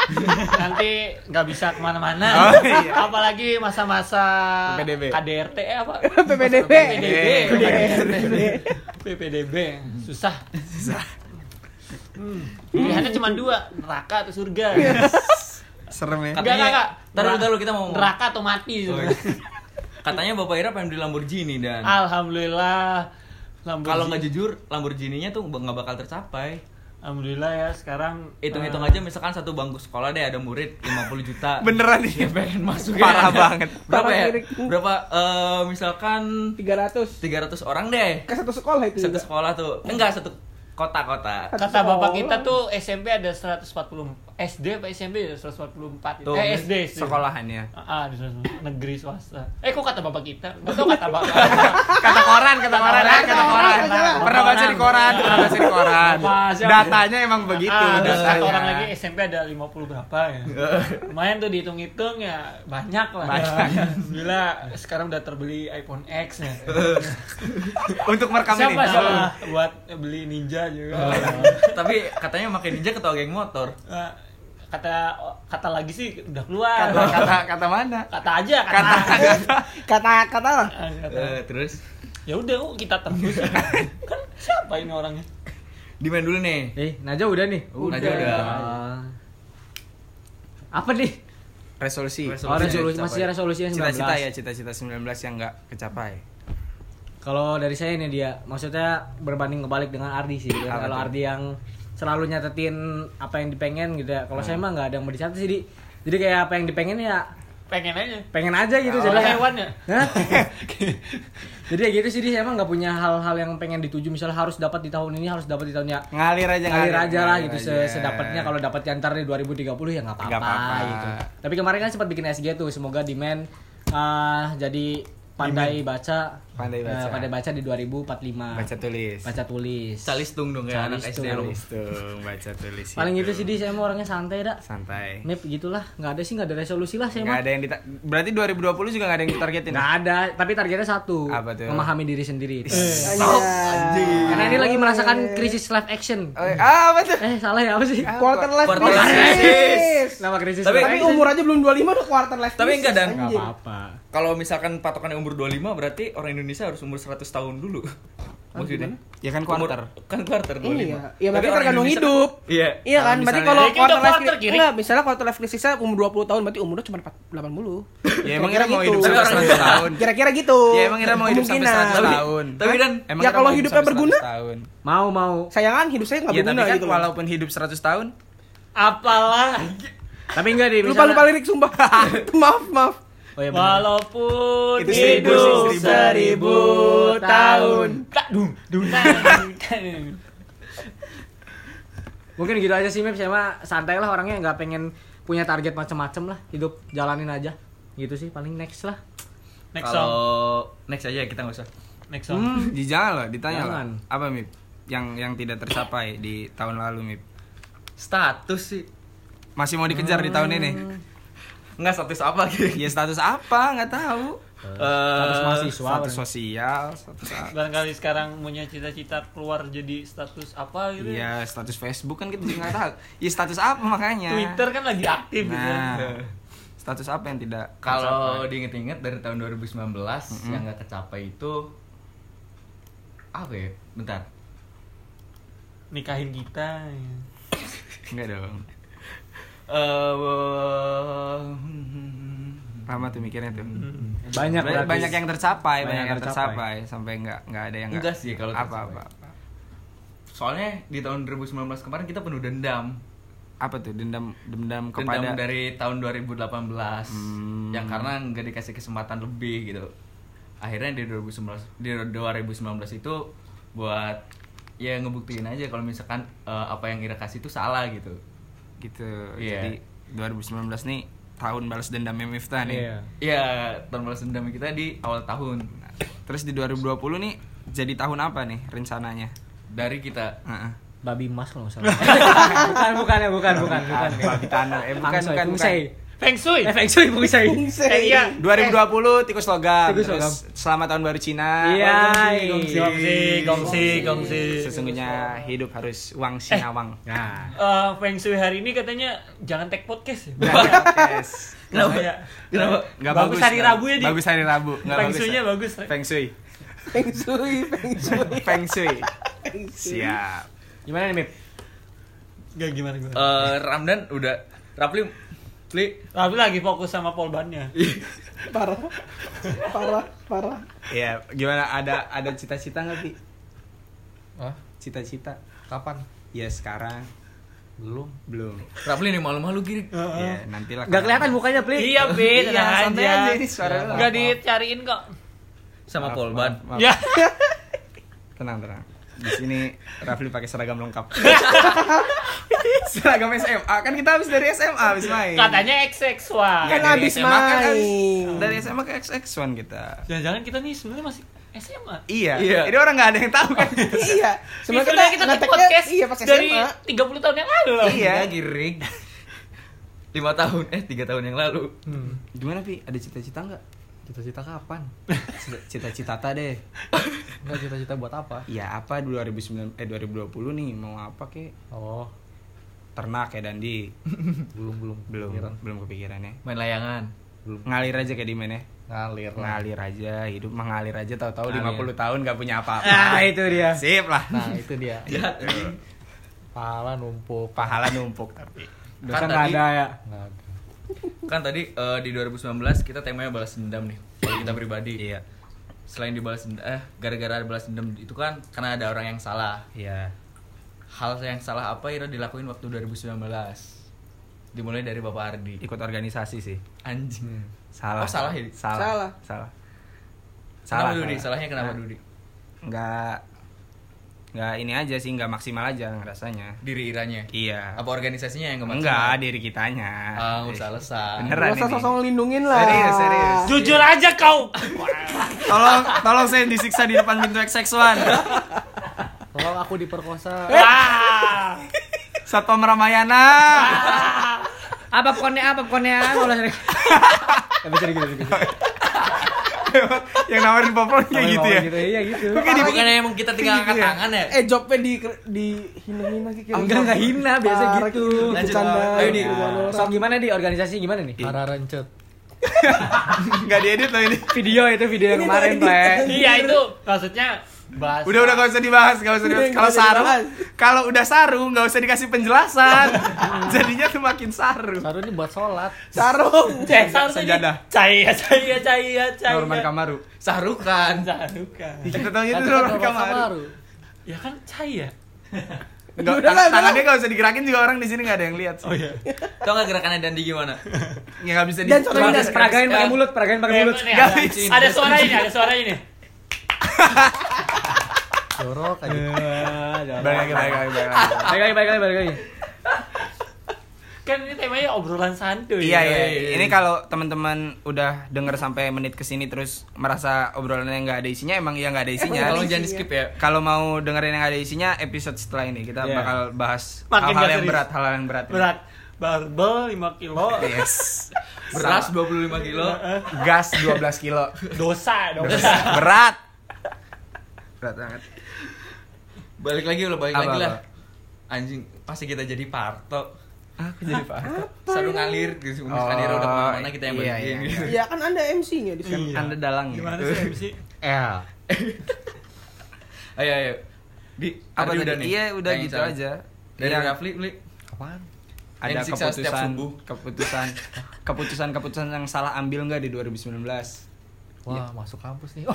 S3: nanti nggak bisa
S8: Oh,
S3: kemana-mana.
S8: iya.
S3: Apalagi masa-masa
S7: PPDB.
S3: KDRT eh apa?
S5: PPDB.
S3: PPDB.
S5: PPDB.
S3: PPDB. Susah. Hmm. Pilihannya cuma dua, neraka atau surga.
S7: Serem ya.
S3: Enggak, enggak, enggak.
S6: Ntar dulu, ntar dulu, kita mau ngomong.
S3: neraka atau mati.
S8: Oh,
S6: Iya.
S8: iya.
S6: katanya Bapak Ira pengen beli Lamborghini dan
S7: Ah,
S3: Alhamdulillah. Lamborghini-
S6: kalau nggak jujur Lamborghini-nya tuh nggak bakal tercapai
S3: Alhamdulillah ya sekarang
S6: hitung-hitung
S7: Ah.
S6: aja
S3: eh,
S6: misalkan satu bangku sekolah deh ada murid 50 juta
S7: Beneran nih.
S6: dia pengen masuk
S7: Parah banget.
S6: berapa ya
S5: Parah, Kirik.
S6: berapa eh, misalkan
S5: 300.
S6: 300 orang deh
S5: Ke satu sekolah itu
S6: satu
S5: juga.
S6: sekolah tuh enggak satu kota-kota
S3: Kata bapak
S5: sekolah.
S3: kita tuh SMP ada 140 SD apa SMP ada 144
S7: Tuh,
S3: eh SD, SD.
S7: sekolahannya.
S3: Ah, ada 140. negeri swasta. Eh kok kata bapak kita? Enggak tahu kata bapak.
S7: Kata koran, kata koran, eh, kata koran. Pernah baca di koran, pernah baca di koran. Datanya emang begitu,
S3: ah, terus kata orang lagi
S7: datanya.
S3: SMP ada 50 berapa ya. Lumayan tuh dihitung-hitung ya banyak lah.
S7: Banyak.
S3: Alhamdulillah sekarang udah terbeli iPhone X ya.
S7: Untuk merekam ini. Oh.
S3: siapa siapa buat beli Ninja juga.
S6: tapi katanya pakai ninja ketua geng motor
S3: Ah, kata kata lagi sih udah keluar.
S7: Kata, kata, kata mana?
S3: kata aja kata
S5: Kata-kata lah.
S3: Ah,
S7: Iya.
S3: kata.
S6: Eh, terus
S3: ya udah kok kita tembus kan siapa ini orangnya
S6: dimain dulu nih
S4: Eh, Naja udah nih.
S6: Udah. Najwa udah.
S4: Ah. Apa nih?
S7: Resolusi.
S4: Oh, resolusi masih resolusinya 19.
S7: Cita-cita ya, cita-cita 19 yang nggak kecapai.
S4: Kalau dari saya nih dia, maksudnya berbanding kebalik dengan Ardi sih. Dan
S7: Apa
S4: Kalau
S7: tuh?
S4: Ardi yang selalu nyatetin apa yang dipengen gitu ya.
S7: Hmm.
S4: Kalau saya mah nggak ada yang mau dicatat sih, Di. Jadi kayak apa yang dipengen ya
S3: pengen aja
S4: pengen aja gitu
S7: Oh.
S3: Kalau
S4: jadi kayak-
S3: hewan ya?
S4: Hah? jadi ya gitu sih dia emang nggak punya hal-hal yang pengen dituju misalnya harus dapat di tahun ini harus dapat di tahun ya
S7: Ngalir aja,
S4: ngalir aja lah
S7: ngalir
S4: gitu
S7: aja.
S4: se- sedapatnya kalau dapat yang ntar di 2030 ya nggak
S7: iya, Nggak apa-apa.
S4: apa-apa gitu tapi kemarin kan sempat bikin SG tuh semoga demand ah, jadi pandai baca eh,
S7: Pandai baca.
S4: pandai baca di 2045
S7: Baca tulis.
S4: baca tulis
S6: calistung dong ya anak
S4: Calistung.
S6: SD lu
S7: Tulis tuh, baca tulis.
S4: paling gitu sih di saya emang orangnya santai dah
S7: Santai.
S4: Nip gitulah, nggak ada sih nggak ada resolusi lah
S5: Iya,
S4: saya
S7: Nggak
S4: mah.
S7: ada yang dita- Berarti 2020 juga nggak ada yang ditargetin.
S4: Nggak ada, tapi targetnya satu,
S7: Apa tuh? Iya.
S4: memahami diri sendiri.
S5: Iya. Anjir.
S4: Karena ini lagi merasakan krisis live action.
S7: Oh, ah, apa tuh?
S4: Eh salah ya apa sih?
S7: Iya.
S5: Quarter life
S6: Quarter life
S5: crisis. Nah,
S4: Nama krisis.
S6: Tapi-
S7: kan
S4: life
S5: Tapi umur aja belum 25 udah quarter life
S6: Tapi enggak, Dan.
S5: anjir.
S4: apa?
S6: kalau misalkan patokan umur 25 berarti orang Indonesia harus umur 100 tahun dulu maksudnya?
S7: Ya kan
S6: Umur-
S7: quarter.
S6: Kan quarter 25.
S5: Iya, ya
S6: Tapi
S5: berarti
S6: orang
S5: tergantung
S6: Indonesia-
S5: hidup.
S6: Iya.
S5: Iya kan, berarti
S6: misalnya-
S5: kalau
S3: Ya, kita
S5: quarter
S3: udah
S5: life
S3: quarter,
S5: crisis
S3: kiri.
S5: enggak, misalnya quarter life crisis umur 20 tahun berarti umurnya cuma 4 80.
S7: Ya emang
S5: Kira-kira
S7: Ira mau
S5: gitu.
S7: hidup sampai 100 tahun.
S5: Kira-kira gitu.
S7: Ya emang Ira mau hidup sampai
S5: Kemungkinan.
S7: 100 tahun.
S6: Tapi kan dan
S5: Ya,
S7: Ira
S5: kalau
S7: kan mau hidup
S5: hidupnya
S7: sampai 100
S5: berguna?
S7: tahun.
S4: Mau mau.
S5: Sayangan hidup saya enggak
S7: Ya tapi
S5: berguna
S7: kan
S5: gitu. loh.
S7: walaupun hidup 100 tahun
S3: Apalah
S4: Tapi enggak deh
S5: Lupa lupa lirik sumpah. maaf, maaf.
S4: Oh iya benar.
S3: walaupun
S5: Itu seribu,
S3: hidup
S5: seribu.
S3: seribu tahun.
S4: Mungkin gitu aja sih Mep sama santai lah orangnya nggak pengen punya target macem-macem lah. Hidup jalanin aja. Gitu sih paling next lah.
S3: Next
S6: Kalau
S3: song.
S6: next aja ya, kita nggak usah.
S3: Next song.
S7: Di Hmm, jangan loh, ditanya
S4: Jangan.
S7: loh. Apa Mip? Yang yang tidak tercapai di tahun lalu Mip.
S6: Status sih.
S7: Masih mau dikejar di tahun ini.
S5: Hmm.
S6: Enggak status apa gitu.
S7: Ya status apa? Nggak tahu.
S4: Status
S6: Eh,
S4: mahasiswa.
S7: Status
S4: bareng.
S7: sosial, status apa?
S3: Barangkali sekarang punya cita-cita keluar jadi status apa gitu. ya.
S7: Iya, status Facebook kan kita juga nggak tahu. Ya status apa
S5: Iya.
S7: makanya?
S3: Twitter kan lagi aktif gitu.
S7: Nah, status apa yang tidak
S6: kalau
S7: tercapai?
S6: diinget-inget dari tahun 2019 yang nggak tercapai itu apa ya? Bentar.
S3: Nikahin kita. ya.
S7: nggak dong.
S6: Eh hmm.
S7: Lama tuh mikirnya tuh.
S4: Banyak
S7: Banyak,
S4: berarti.
S7: banyak yang tercapai,
S4: Banyak
S7: banyak yang
S4: yang tercapai.
S7: tercapai, sampai nggak nggak ada yang nggak-
S6: Enggak sih kalau
S7: apa-apa.
S6: tercapai. Soalnya di tahun 2019 kemarin kita penuh dendam.
S7: Apa tuh dendam
S6: Dendam
S7: dendam kepada
S6: dari tahun 2018
S7: Hmm.
S6: yang karena nggak dikasih kesempatan lebih gitu. Akhirnya di 2019 di 2019 itu buat ya ngebuktiin aja kalau misalkan eh, apa yang Ira kasih itu salah gitu.
S7: gitu.
S6: Iya.
S7: Jadi 2019 nih tahun balas dendamnya Miftah nih.
S4: Iya.
S6: Iya, tahun balas dendam kita di awal tahun. Nah,
S7: Terus di 2020 nih jadi tahun apa nih rencananya?
S6: Dari kita
S7: Heeh.
S4: Babi emas kalau nggak salah. bukan bukan ya bukan bukan bukan.
S7: Babi tanah. Eh, bukan,
S4: Feng Shui,
S7: bukan,
S4: Feng
S7: bukan.
S4: Shui.
S3: Feng Shui.
S4: Eh, Feng Shui, Feng Shui.
S3: Eh, iya.
S7: 2020 tikus logam.
S4: Tikus
S7: Terus,
S4: logam.
S7: selamat tahun baru Cina.
S4: Iya.
S3: Gongsi, gongsi, gongsi, gongsi.
S7: Sesungguhnya hidup harus wang sinawang.
S4: Nah,
S3: Eh, Feng Sui hari ini katanya jangan take podcast ya.
S7: Yes.
S3: Kenapa?
S7: Kenapa? Nggak
S3: Bagus hari
S7: nggak-
S3: Rabu ya, Di.
S7: Bagus hari Rabu. Nggak
S3: Feng
S7: bagus.
S3: Shui-nya bagus.
S7: Feng Shui.
S5: Feng Shui, Feng Shui.
S7: Feng Shui. Siap.
S4: gimana nih Mip?
S3: Gak gimana gimana.
S6: Eh, Ramdan udah Rapli Pli
S3: Tapi lagi fokus sama polbannya.
S5: Parah. Parah, parah.
S7: Iya, gimana ada ada cita-cita nggak, Pi? Cita-cita.
S9: Kapan?
S7: Ya sekarang
S9: Belum.
S7: belum.
S6: Rapli nih malu-malu gini.
S7: Ya, nantilah.
S4: Gak kelihatan mukanya, Pli.
S3: Iya, Bi,
S7: Iya,
S3: tenang
S7: santai
S3: aja.
S7: aja ini suara lu.
S3: Gak dicariin kok.
S6: sama Polban.
S7: Ya.
S3: Ya.
S7: Tenang, tenang. Di sini Rafli pakai seragam lengkap. seragam SMA. Kan kita habis dari SMA habis main.
S3: Katanya XX1.
S7: Kan
S5: Kan
S7: dari
S5: habis
S7: SMA kan habis-
S5: main.
S7: Dari SMA ke XX1 kita.
S3: Jangan-jangan kita nih sebenarnya masih SMA.
S7: Iya.
S6: Iya.
S7: Ini orang nggak ada yang tahu kan.
S5: Iya.
S3: Sebenarnya
S5: Sebenarnya
S3: kita,
S5: ngeteknya-
S3: take podcast
S5: iya pas
S3: dari
S5: SMA.
S3: 30 tahun yang lalu.
S7: iya.
S6: giring. 5 tahun eh 3 tahun yang lalu.
S7: Gimana, Pi? Ada cita-cita nggak?
S9: Cita-cita kapan?
S7: Cita-cita ta deh.
S9: Enggak cita-cita buat apa?
S7: Iya, apa 2009 eh 2020 nih mau apa kek?
S9: Oh,
S7: Ternak ya Dandi.
S9: belum belum
S7: Belum.
S9: Pikiran.
S7: Belum kepikirannya.
S6: Main layangan.
S7: Ngalir aja kayak di mana?
S9: Ngalir lah.
S7: Ngalir aja, hidup mengalir aja tahu-tahu
S6: Ngalir.
S7: 50 tahun gak punya apa-apa.
S4: Ah, itu dia.
S7: Sip lah.
S9: Nah, itu dia.
S5: Iya.
S6: Jahat.
S9: Pala numpuk.
S7: Pahala numpuk tapi.
S4: Dosa
S6: Kan
S4: nggak
S6: tadi-
S4: ada ya.
S9: Nggak ada.
S6: Kan tadi eh, di 2019 kita temanya balas dendam nih. Kalau kita pribadi.
S7: Iya.
S6: Selain dibalas dendam eh gara-gara balas dendam itu kan karena ada orang yang salah.
S7: Iya.
S6: Hal yang salah apa Ira dilakuin waktu 2019? Dimulai dari Bapak Ardi.
S7: Ikut organisasi sih. Hmm.
S6: Anjing.
S7: Salah.
S6: Oh, salah ya?
S7: Salah.
S5: Salah.
S7: Salah.
S6: kenapa Dudi? Salahnya kenapa
S7: Nah,
S6: Dudi?
S7: Nggak nggak ini aja sih, nggak maksimal aja rasanya.
S6: Diri Iranya.
S7: Iya.
S6: Apa organisasinya yang enggak
S7: Enggak, diri kitanya.
S6: Ah, nggak usah alasan.
S7: Beneran
S5: Gak usah
S7: ini.
S5: sosok lindungin lah.
S7: Serius, serius.
S3: Jujur aja kau.
S7: Tolong, tolong saya disiksa di depan pintu XX1.
S9: Tolong aku diperkosa.
S4: Eh,
S3: Wah.
S7: Satpam Ramayana.
S4: Apa pokoknya apa pokoknya? Mulai dari- Ya, bisa gitu, bisa gitu.
S7: yang nawarin popcorn kayak gitu ya.
S4: Iya gitu.
S7: Kayak di-
S6: Bukannya emang kita tinggal angkat tangan ya?
S5: Eh, jobnya di di hina-hina kayak gitu.
S4: Oh, Enggak enggak hina, biasa gitu.
S5: Parah, gitu.
S6: Lanjut.
S5: Bercanda,
S6: Ayo, Di.
S5: bercanda orang.
S4: Sok gimana di organisasi gimana nih?
S9: Para rencet.
S7: Enggak diedit loh ini.
S4: Video itu video yang kemarin, Ple.
S3: Iya itu maksudnya
S9: bahas
S7: Udah udah gak usah dibahas, gak usah dibahas. Kalau saru, kalau udah saru nggak usah dikasih penjelasan. Jadinya tuh makin saru.
S9: Saru ini buat sholat
S5: Sarung.
S3: Cek saru
S7: Sejadah.
S3: Cahaya, cahaya, cahaya, cahaya.
S7: Norman Kamaru.
S3: Sarukan. Sarukan.
S7: Kita tahu itu
S9: Kan kita
S7: Norman
S9: buat
S7: Kamaru.
S3: Ya kan cahaya.
S7: Nggak,
S5: Udah lah, udah
S7: tangannya nggak usah digerakin juga orang di sini nggak ada yang lihat. Oh iya.
S6: Tau gak gerakannya Dandi gimana?
S7: Ya nggak bisa di.
S5: Dan sorry, dan
S7: nggak bisa-
S4: Peragain pakai mulut, peragain pakai mulut.
S3: Nih, ada, ya? ada suara ini, ada suara ini.
S9: jorok aja
S7: Balik lagi, balik lagi, balik lagi.
S4: Baik lagi, baik lagi, baik lagi.
S3: Kan ini temanya obrolan santuy.
S7: Iya iya. Ini kalau teman-teman udah denger sampai menit kesini terus merasa obrolannya nggak ada isinya, emang ya nggak ada isinya.
S6: Tolong jangan di skip ya.
S7: Kalau mau dengerin yang ada isinya episode setelah ini kita
S3: Iya.
S7: bakal bahas
S3: Makin
S7: hal-hal
S3: nggak
S7: yang
S3: serius.
S7: berat, hal-hal yang berat.
S3: Berat. Barbel 5 kilo.
S7: Yes.
S6: Beras 25 kilo.
S7: Gas 12 kilo.
S3: Dosa, dosa.
S7: Berat. Berat banget.
S6: Balik lagi lo balik
S7: Apa,
S6: lagi lah.
S7: apa?
S6: Anjing, pasti kita jadi parto.
S7: Aku jadi paham.
S6: Selalu ngalir gitu.
S7: Oh,
S6: Unis udah kemana-mana kita yang Iya.
S7: iya,
S6: balikin
S7: iya,
S6: gitu.
S5: Ya kan Anda MC-nya di sini.
S7: Anda dalang ya.
S3: Gimana sih MC?
S9: eh
S6: Ayo ayo. Di
S7: Apa
S6: Ardi
S7: tadi? Iya, udah
S6: Yang
S7: gitu
S6: salah.
S7: aja.
S6: Dari
S7: Yang-
S6: Rafli, Li.
S9: apaan
S7: ada
S6: Yang disiksa setiap
S7: keputusan,
S6: subuh.
S7: keputusan, keputusan, keputusan yang salah ambil nggak di 2019?
S9: wah masuk kampus nih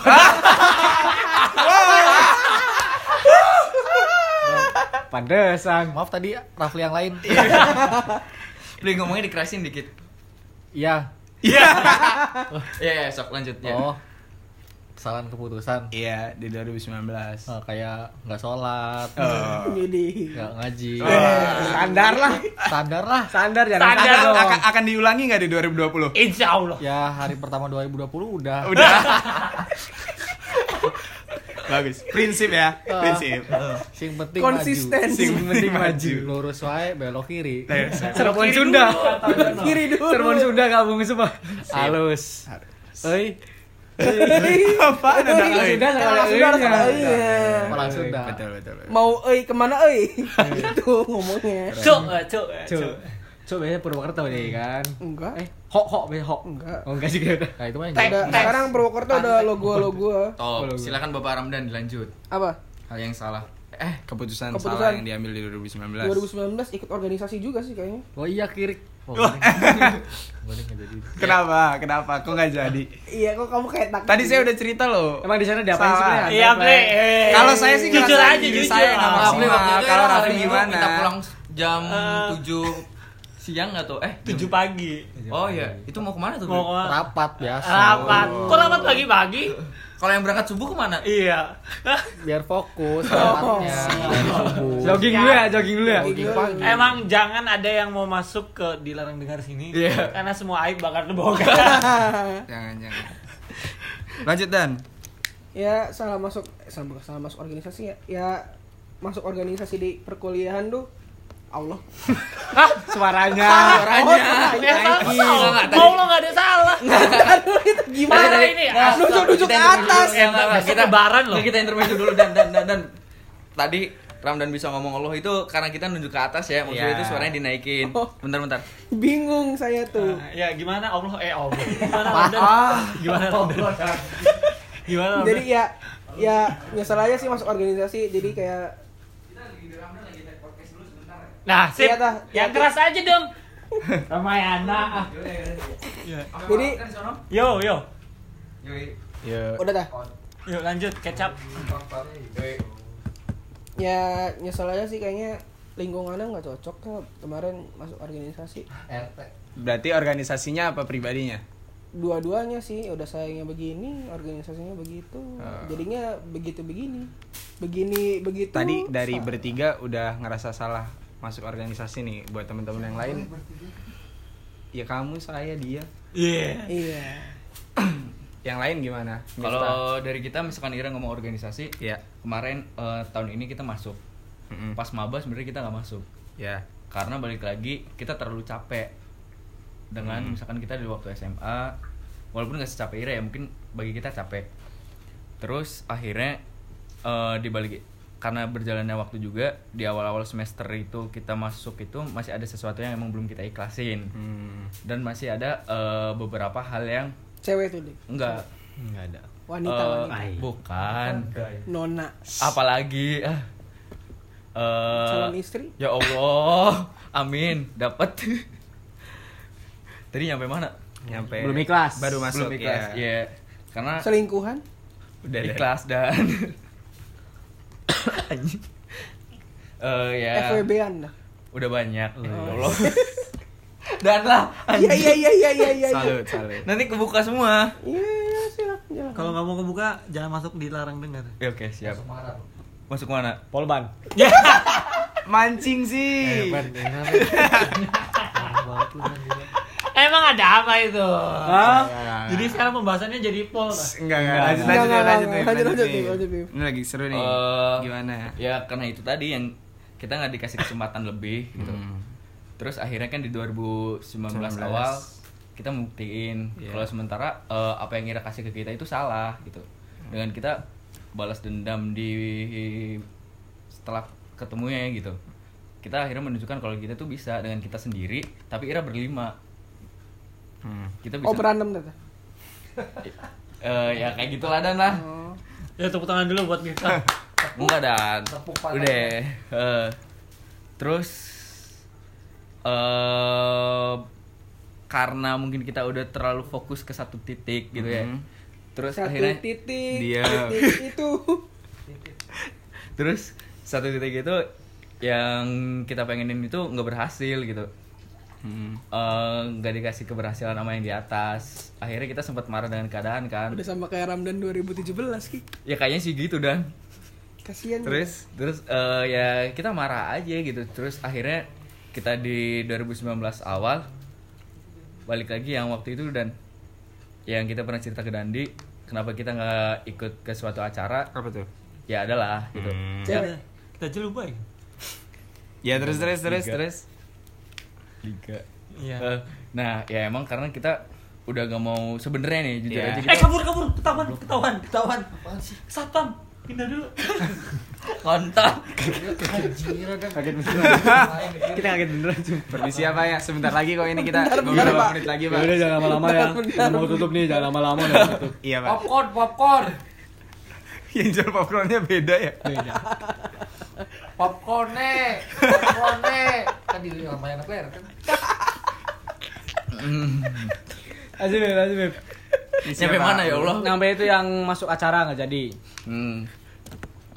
S4: Pantesan.
S9: maaf tadi Rafli yang lain
S4: Iya.
S6: Li ngomongnya dikerasin dikit.
S9: iya
S6: Iya, iya, sok lanjut ya.
S9: oh kesalahan keputusan
S7: Iya, di 2019.
S4: Oh.
S9: Eh, kayak nggak sholat
S4: Eh.
S5: Jadi
S9: nggak ngaji
S4: Standar lah.
S9: standar lah
S4: Standar jangan
S3: Standar.
S4: standar dong.
S7: Akan, akan diulangi nggak di 2020?
S3: Insya Allah.
S9: ya hari pertama 2020 udah
S7: Udah. Bagus. Prinsip ya,
S9: Eh,
S7: prinsip.
S9: sing penting
S5: konsisten.
S9: maju.
S7: Sing penting maju. iya.
S9: lurus wae belok kiri
S7: Yes.
S4: Cirebon Sunda.
S5: Kiri dulu.
S4: Cirebon Sunda kampung semua. Halus. Oi.
S5: Iya.
S7: Apaan ada
S4: Orang
S7: euy?
S4: Sunda sama
S5: Orang Sunda
S4: eunya.
S5: sama eunya.
S9: orang Sunda
S7: Betul, betul. betul.
S5: "Iya." Mau euy kemana euy? Itu ngomongnya.
S3: Cuk, eh, cuk, eh,
S4: Cuk.
S3: cuk.
S4: Cuk biasanya Purwokerto
S9: Hmm.
S4: deh kan.
S5: Enggak.
S4: Eh, hok hok be hok.
S5: Enggak.
S4: Oh enggak sih kayaknya.
S9: nah itu mah yang
S5: Ada sekarang Purwokerto ada logo-logo
S6: Top. Silakan Bapak Ramdan dilanjut.
S5: apa?
S6: Hal yang salah.
S7: Eh, keputusan,
S5: Keputusan.
S7: salah yang diambil di 2019.
S5: 2019 ikut organisasi juga sih kayaknya.
S9: oh iya kiri oh, boleh nggak jadi
S7: Kenapa? Kenapa? Kok nggak jadi?
S5: Iya, kok kamu kayak gitu? tak.
S7: Tadi saya udah cerita loh.
S4: Emang di sana diapain
S7: Salah.
S4: sebenarnya?
S3: Iya, Bre. eh.
S7: Kalau saya sih
S3: jujur
S7: ngerasa
S3: aja,
S7: diri
S3: jujur.
S7: saya nggak
S3: Ah,
S7: maksimal. Kalau Raffi gimana?
S6: Kita pulang jam
S3: Eh.
S6: 7 siang atau eh jam-
S3: Tujuh pagi.
S6: Oh iya, itu mau kemana tuh? Bro?
S3: Mau ke-
S9: rapat
S7: Ya,
S9: biasa
S3: rapat. Kok rapat pagi-pagi?
S6: Kalau yang berangkat subuh kemana?
S3: Iya.
S9: biar fokus
S4: Oh.
S9: rapatnya Dari subuh.
S4: Jogging dulu ya, jogging dulu ya.
S9: Jogging pagi
S3: Emang jangan ada yang mau masuk ke dilarang dengar sini
S6: Iya.
S3: karena semua aib bakal terbongkar.
S7: Jangan, jangan. Lanjut Dan.
S5: ya salah masuk eh, salah, bukan salah masuk organisasi ya ya masuk organisasi di perkuliahan tuh Allah Oh,
S4: Suaranya.
S5: suaranya
S3: Ya salah,
S5: Iya,
S6: Nike.
S3: salah.
S6: Nggak, tadi-
S3: Mau lo
S5: Eh,
S3: nggak ada salah.
S5: itu
S3: Gimana
S5: gimana
S3: ini?
S6: Nah,
S3: Aduh,
S5: nunjuk-nunjuk
S6: kita
S5: ke
S6: interview dulu.
S5: atas.
S6: Nggak, nggak, nggak,
S3: Kita lebaran loh.
S6: nggak, Kita intermezzo dulu dan dan dan dan. Tadi Ramdan bisa ngomong Allah itu karena kita nunjuk ke atas ya, maksudnya
S7: Iya.
S6: itu suaranya dinaikin.
S5: Oh.
S6: Bentar bentar.
S5: bingung saya tuh
S3: Nah, Ya gimana Allah eh Allah. Gimana Ramdan? Gimana Ramdan? Gimana
S7: Ah.
S3: Ramdan?
S5: jadi ya ya nyesel aja sih masuk organisasi jadi kayak
S3: Nah, sip.
S5: Iya, tah.
S3: Yang keras aja dong. Ramayana. ah.
S5: jadi
S3: Yo, yo.
S5: udah dah
S3: Yuk lanjut kecap.
S5: ya nyesel aja sih kayaknya lingkungannya nggak cocok tuh kemarin masuk organisasi
S7: Berarti organisasinya apa pribadinya?
S5: dua-duanya sih ya udah sayangnya begini organisasinya begitu jadinya begitu begini begini begitu
S7: Tadi dari
S5: Sa-
S7: bertiga udah ngerasa salah masuk organisasi nih buat teman-teman yang lain. Ya kamu, saya, dia.
S3: Iya.
S5: iya
S7: Yang lain gimana? Miftah?
S6: Kalau dari kita misalkan Ira ngomong organisasi,
S7: ya.
S6: kemarin eh, tahun ini kita masuk.
S7: Mm-mm.
S6: Pas maba sebenarnya kita nggak masuk.
S7: Ya.
S6: karena balik lagi kita terlalu capek dengan misalkan kita di waktu SMA walaupun nggak secapek Ira ya mungkin bagi kita capek terus akhirnya eh, dibalik karena berjalannya waktu juga di awal-awal semester itu kita masuk itu masih ada sesuatu yang emang belum kita ikhlasin
S7: Hmm.
S6: dan masih ada eh, beberapa hal yang
S5: cewek tuh deh
S6: enggak
S9: nggak ada
S5: Wanita,
S6: eh,
S5: wanita.
S6: ai. bukan.
S5: Nona.
S6: Apalagi ah. Eh,
S5: Calon istri?
S6: Ya Allah. Amin, dapat. Tadi nyampe mana?
S7: nyampe
S4: Belum ikhlas.
S7: baru masuk
S6: Belum ikhlas.
S7: ya
S6: Iya. Karena
S5: Selingkuhan?
S7: udah deh.
S6: ikhlas dan Anjing. Eh, ya
S5: FWB Anda.
S6: udah banyak ya Allah. dan lah
S5: Iya iya iya iya iya iya.
S7: salut salut
S6: nanti kebuka semua
S5: Iya iya silakan. silakan.
S3: Kalau nggak mau kebuka, jangan masuk dilarang dengar.
S6: ya, oke siap masuk mana
S4: Polban.
S7: mancing sih
S3: Emang ada apa itu? Jadi sekarang pembahasannya jadi pol. Pak.
S7: enggak enggak lanjut
S5: Enggak,
S7: lanjut
S5: enggak,
S7: lanjut
S5: enggak. Lanjut,
S7: Bib,
S5: lanjut,
S7: Bib.
S5: Bib, lanjut, Bib.
S7: ini lagi seru nih
S6: Eh,
S7: gimana
S6: ya karena itu tadi yang kita nggak dikasih kesempatan lebih gitu
S7: Hmm.
S6: terus akhirnya kan di 2019 awal kita buktiin
S7: Iya.
S6: kalau sementara eh, apa yang Ira kasih ke kita itu salah gitu dengan kita balas dendam di setelah ketemunya gitu kita akhirnya menunjukkan kalau kita tuh bisa dengan kita sendiri tapi Ira berlima
S7: Hmm.
S6: kita bisa
S5: Oh berantem tata.
S6: Eh, ya kayak gitulah dan lah
S3: Ya tepuk tangan dulu buat Miftah.
S6: Enggak dan udah
S5: ya.
S6: Eh, terus eh karena mungkin kita udah terlalu fokus ke satu titik gitu ya
S7: Mhm.
S6: terus
S5: Mm-hmm. Satu
S6: akhirnya
S5: titik.
S7: dia
S5: titik itu.
S6: terus satu titik itu yang kita pengenin itu nggak berhasil gitu
S5: Mm-hmm.
S7: Hmm.
S6: Eh, nggak dikasih keberhasilan sama yang di atas akhirnya kita sempat marah dengan keadaan kan
S5: Udah sama kayak Ramdan 2017 ki.
S6: ya kayaknya sih gitu dan
S5: Kasihan.
S7: terus
S6: terus eh, ya kita marah aja gitu terus akhirnya kita di 2019 awal balik lagi yang waktu itu dan yang kita pernah cerita ke Dandi kenapa kita nggak ikut ke suatu acara
S7: apa tuh Hmm.
S6: ya adalah gitu
S5: Ya.
S3: Kita aja lupa ya.
S7: ya terus terus terus terus
S6: Liga.
S3: Iya.
S6: Eh, nah ya emang karena kita udah gak mau sebenarnya nih jujur
S7: Iya.
S6: aja gitu.
S3: Eh
S6: kita
S3: kabur kabur ketahuan ketahuan ketahuan. Satpam pindah dulu.
S6: kontak
S4: Kita kaget beneran cuma.
S7: permisi apa ya sebentar lagi kok ini kita
S5: Bentar, bentar,
S7: beberapa
S5: Pak.
S7: menit lagi
S4: Ya
S7: pak
S4: udah jangan lama-lama ya.
S5: Bentar,
S4: Mau tutup nih jangan lama-lama udah tutup.
S7: iya pak
S9: Popcorn, popcorn.
S7: yang jual popcornnya beda ya
S9: Popcorn nih. Popcorn nih. Kan di Ramayana Claire kan.
S4: Lanjut, Beb, lanjut, Beb.
S6: sampai mana ya Allah
S4: Sampai itu yang masuk acara nggak jadi.
S6: Hmm.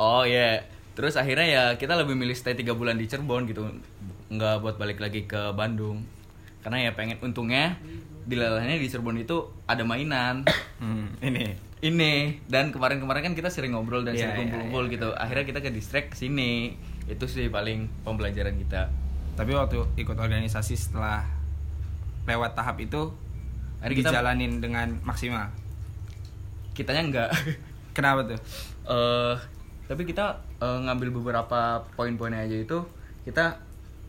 S6: Oh ya. Terus akhirnya ya kita lebih milih stay tiga bulan di Cirebon gitu. Nggak buat balik lagi ke Bandung. Karena ya pengen untungnya di lelahnya di Cirebon itu ada mainan.
S7: Hmm, ini
S6: Ini dan kemarin-kemarin kan kita sering ngobrol dan
S7: Iya,
S6: sering
S7: iya,
S6: kumpul-kumpul gitu. Akhirnya kita ke distract sini. Itu sih paling pembelajaran kita.
S7: tapi waktu ikut organisasi setelah lewat tahap itu
S6: Hari kita-
S7: dijalanin dengan maksimal
S6: Kitanya nggak
S7: kenapa tuh
S6: eh tapi kita eh, ngambil beberapa poin-poinnya aja itu kita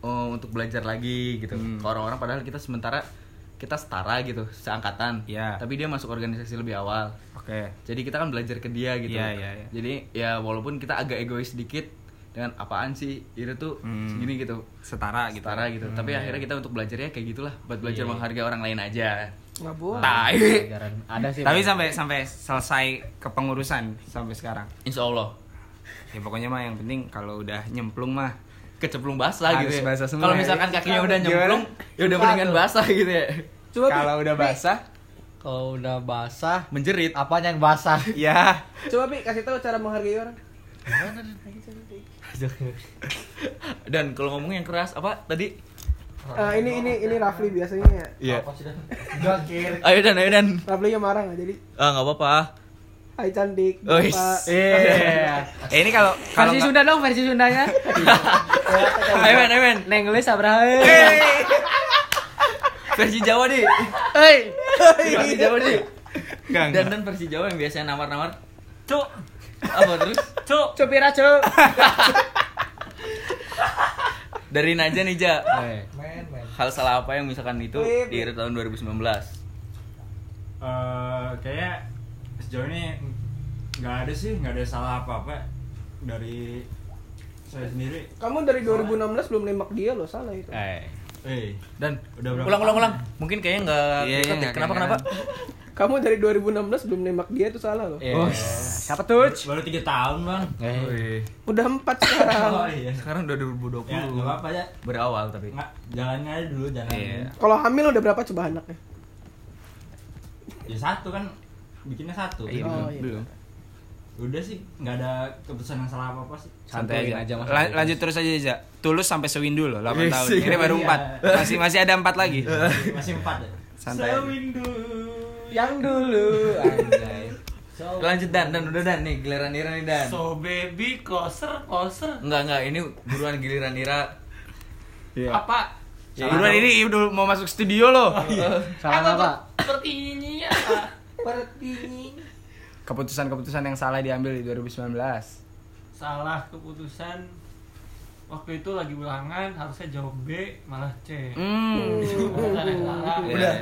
S6: eh, untuk belajar lagi gitu
S7: Hmm.
S6: ke orang-orang padahal kita sementara kita setara gitu seangkatan
S7: Iya.
S6: tapi dia masuk organisasi lebih awal
S7: oke
S6: jadi kita kan belajar ke dia gitu
S7: Iya, iya, iya.
S6: jadi ya walaupun kita agak egois dikit dengan apaan sih itu tuh
S7: Hmm.
S6: segini gitu
S7: setara gitu Iya.
S6: setara gitu tapi akhirnya kita untuk belajarnya kayak gitulah buat belajar menghargai orang lain aja
S5: Nggak boleh.
S6: tai
S4: Pelajaran ada sih.
S7: tapi
S4: Beb.
S7: sampai sampai selesai kepengurusan sampai sekarang
S6: insya Allah
S7: ya pokoknya mah yang penting kalau udah nyemplung mah
S6: kecemplung basah
S7: Harus
S6: gitu ya.
S7: basah semua
S6: Kalau
S7: ya.
S6: misalkan kakinya
S7: Gimana?
S6: udah nyemplung, ya udah mendingan basah gitu ya.
S5: Coba Bib.
S7: kalau udah basah
S9: Kalau udah basah,
S6: Menjerit.
S9: apanya yang basah?
S7: ya
S5: Coba Bi kasih tahu cara menghargai orang.
S6: Dan kalau ngomong yang keras apa tadi?
S5: Eh, ini ini ini Rafli biasanya
S6: Iya.
S5: ya.
S6: Ayo dan ayo dan.
S5: Rafli yang marah nggak jadi.
S6: Ah nggak apa-apa.
S5: Hai cantik.
S7: Oh,
S6: Oi.
S5: Pak.
S4: Iya.
S7: eh, ini kalau kalau
S4: Versi
S7: nggak-
S4: Sunda dong, versi Sundanya.
S6: Ayo men, ayo men.
S4: Nenggelis sabraha. Hei.
S6: Versi Jawa di.
S4: Hei.
S6: Versi Jawa di.
S7: nggak,
S6: Dan
S7: nggak.
S6: dan versi Jawa yang biasanya namar-namar
S3: Cuk
S6: apa terus?
S3: cuk.
S4: Cupir aja.
S6: Dari Naja nih Ja.
S9: Men, men.
S6: Hal salah apa yang misalkan itu di tahun 2019?
S8: Eh, kayaknya sejauh ini nggak ada sih nggak ada salah apa apa dari saya sendiri
S5: Kamu dari 2016 belum nembak dia loh, salah itu.
S6: Eh.
S8: eh
S6: Dan
S8: Udah berapa
S6: ulang ulang ulang. Mungkin kayaknya nggak
S7: Iya, iya,
S6: kelihatan ya.
S7: nggak
S6: Kenapa kenapa?
S7: kedengeran.
S5: Kamu dari 2016 belum nembak dia itu salah loh.
S7: Iya.
S4: Siapa tuh?
S8: Baru 3 tahun bang
S6: Eh.
S5: Udah empat sekarang.
S8: Oh iya
S6: Sekarang udah 2020.
S8: Ya gak apa-apa ya
S6: Berawal tapi.
S8: Nggak, Jalannya aja dulu jalan
S7: Iya.
S5: Kalau hamil udah berapa coba anaknya?
S8: Ya satu kan Bikinnya satu
S7: Iya,
S5: Oh,
S7: belum,
S5: iya.
S7: belum.
S8: Udah sih nggak ada keputusan yang salah apa-apa sih
S7: Santai
S4: Santuin
S7: aja.
S4: aja, Mas.
S7: Lan- lanjut terus aja Za. Tulus sampai sewindu loh 8 tahun.
S8: sih.
S7: Ini baru
S8: Iya.
S7: 4. Masih masih ada 4 lagi.
S6: Iya.
S8: Masih- Masih empat ya
S7: Santai. aja.
S4: Yang dulu. Anjay.
S6: Lanjut Dan, Dan udah Dan nih giliran Ira nih Dan.
S3: So baby koser koser.
S6: Enggak enggak ini buruan giliran Ira.
S3: Apa?
S6: Iya.
S7: Buruan ini udah mau masuk studio loh.
S6: Oh,
S4: Salah apa?
S3: Seperti ini ya. apa?
S7: Keputusan-keputusan yang salah diambil di 2019.
S3: Salah keputusan waktu itu lagi ulangan harusnya jawab B malah C.
S7: Hmm.
S3: Keputusan yang salah.
S6: Iya,
S7: Udah.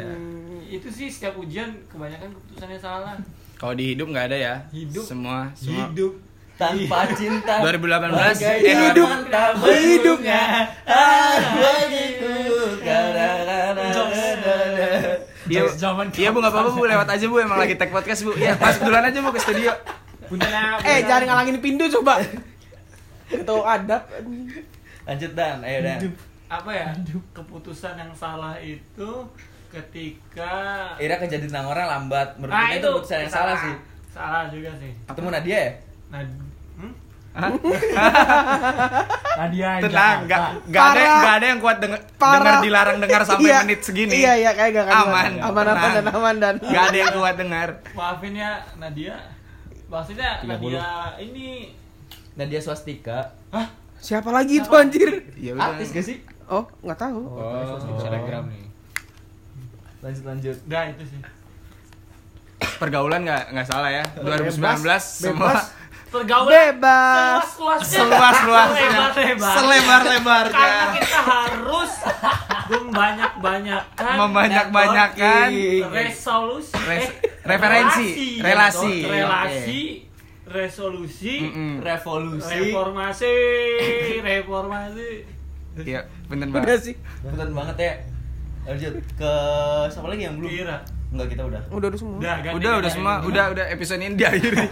S3: Itu sih setiap ujian kebanyakan keputusannya salah.
S7: Kalau di hidup nggak ada ya.
S3: Hidup.
S7: Semua semua.
S3: Hidup
S6: Tanpa cinta.
S7: 2018
S6: Bagai
S7: eh,
S6: hidup
S7: 2018.
S6: tak hidupnya
S3: Ah.
S6: begitu
S7: Iya, Bu. Iya Bu nggak apa-apa Bu lewat aja Bu emang lagi tag podcast Bu. Iya pas duluan aja Bu ke studio.
S5: Eh, jangan ngalangin pintu coba. Atau adab.
S6: lanjut dan ayo dan
S3: apa ya? Keputusan yang salah itu ketika
S6: Ira kejadian sama orang lambat menurut
S3: Nah,
S6: kita itu keputusan yang salah sih
S3: Salah juga sih.
S6: ketemu Nadia ya
S3: Nah, hmm?
S8: Nadia
S7: Tenang, nggak nggak ada
S5: Parah.
S7: nggak ada yang kuat denger,
S5: Parah.
S7: dengar dilarang dengar sampai
S5: Iya.
S7: menit segini.
S5: Iya, iya kayak gak
S7: Aman.
S5: Aman aman
S7: Tenang.
S5: dan aman dan.
S7: Nggak ada yang kuat dengar.
S3: maafin ya Nadia. Maksudnya Nadia ini
S6: Nadia swastika
S5: Siapa lagi itu anjir?
S7: Ya udah.
S6: artis gak sih
S5: Oh, nggak tahu.
S6: Instagram nih lanjut lanjut
S3: udah itu sih.
S7: Pergaulan nggak nggak salah ya. 2019 semua
S5: bebas.
S3: Pergaulan
S5: Bebas.
S3: luasnya
S7: seluas luasnya,
S3: Selebar-lebarnya.
S7: selebar lebarnya,
S3: karena kita harus membanyak banyakan
S7: membanyak banyakan
S3: resolusi Eh,
S7: Res- referensi, relasi.
S3: relasi ya, relasi resolusi
S7: Hmm,
S6: revolusi
S3: reformasi reformasi
S7: Iya, bener
S5: Udah
S7: banget.
S5: sih.
S6: beneran banget ya lanjut ke siapa lagi yang belum
S3: Ira
S6: enggak kita udah
S5: Udah Kan udah Iya, semua.
S3: udah ganti
S7: Udah, udah
S3: ganti.
S7: semua, udah, udah episode ini diakhiri.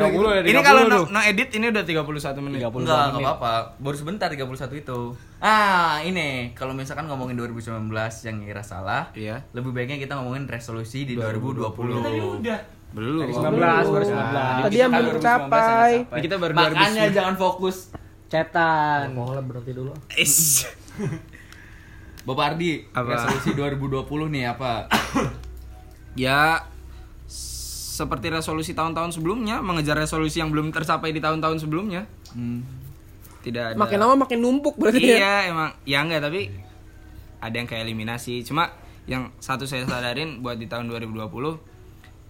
S9: 30 ya,
S7: ini kalau no, no edit ini udah 31 menit.
S6: Enggak, enggak apa-apa. Baru sebentar 31 itu. Ah, ini kalau misalkan ngomongin 2019 yang ngira salah,
S7: Iya.
S6: lebih baiknya kita ngomongin resolusi di 2020.
S7: 2020.
S3: tadi udah
S7: Belum.
S9: 19 baru 19.
S5: Tadi yang belum tercapai.
S7: Ini kita baru
S6: Makanya jangan fokus.
S4: Cetan. Mau lah berhenti dulu.
S7: 2019. Ish.
S6: Bapak Ardi,
S7: Apa?
S6: resolusi 2020 nih apa?
S7: Ya s- seperti resolusi tahun-tahun sebelumnya, mengejar resolusi yang belum tercapai di tahun-tahun sebelumnya. Tidak ada.
S5: Makin lama makin numpuk berarti ya.
S7: Iya, emang ya enggak tapi ada yang kayak eliminasi. Cuma yang satu saya sadarin buat di tahun 2020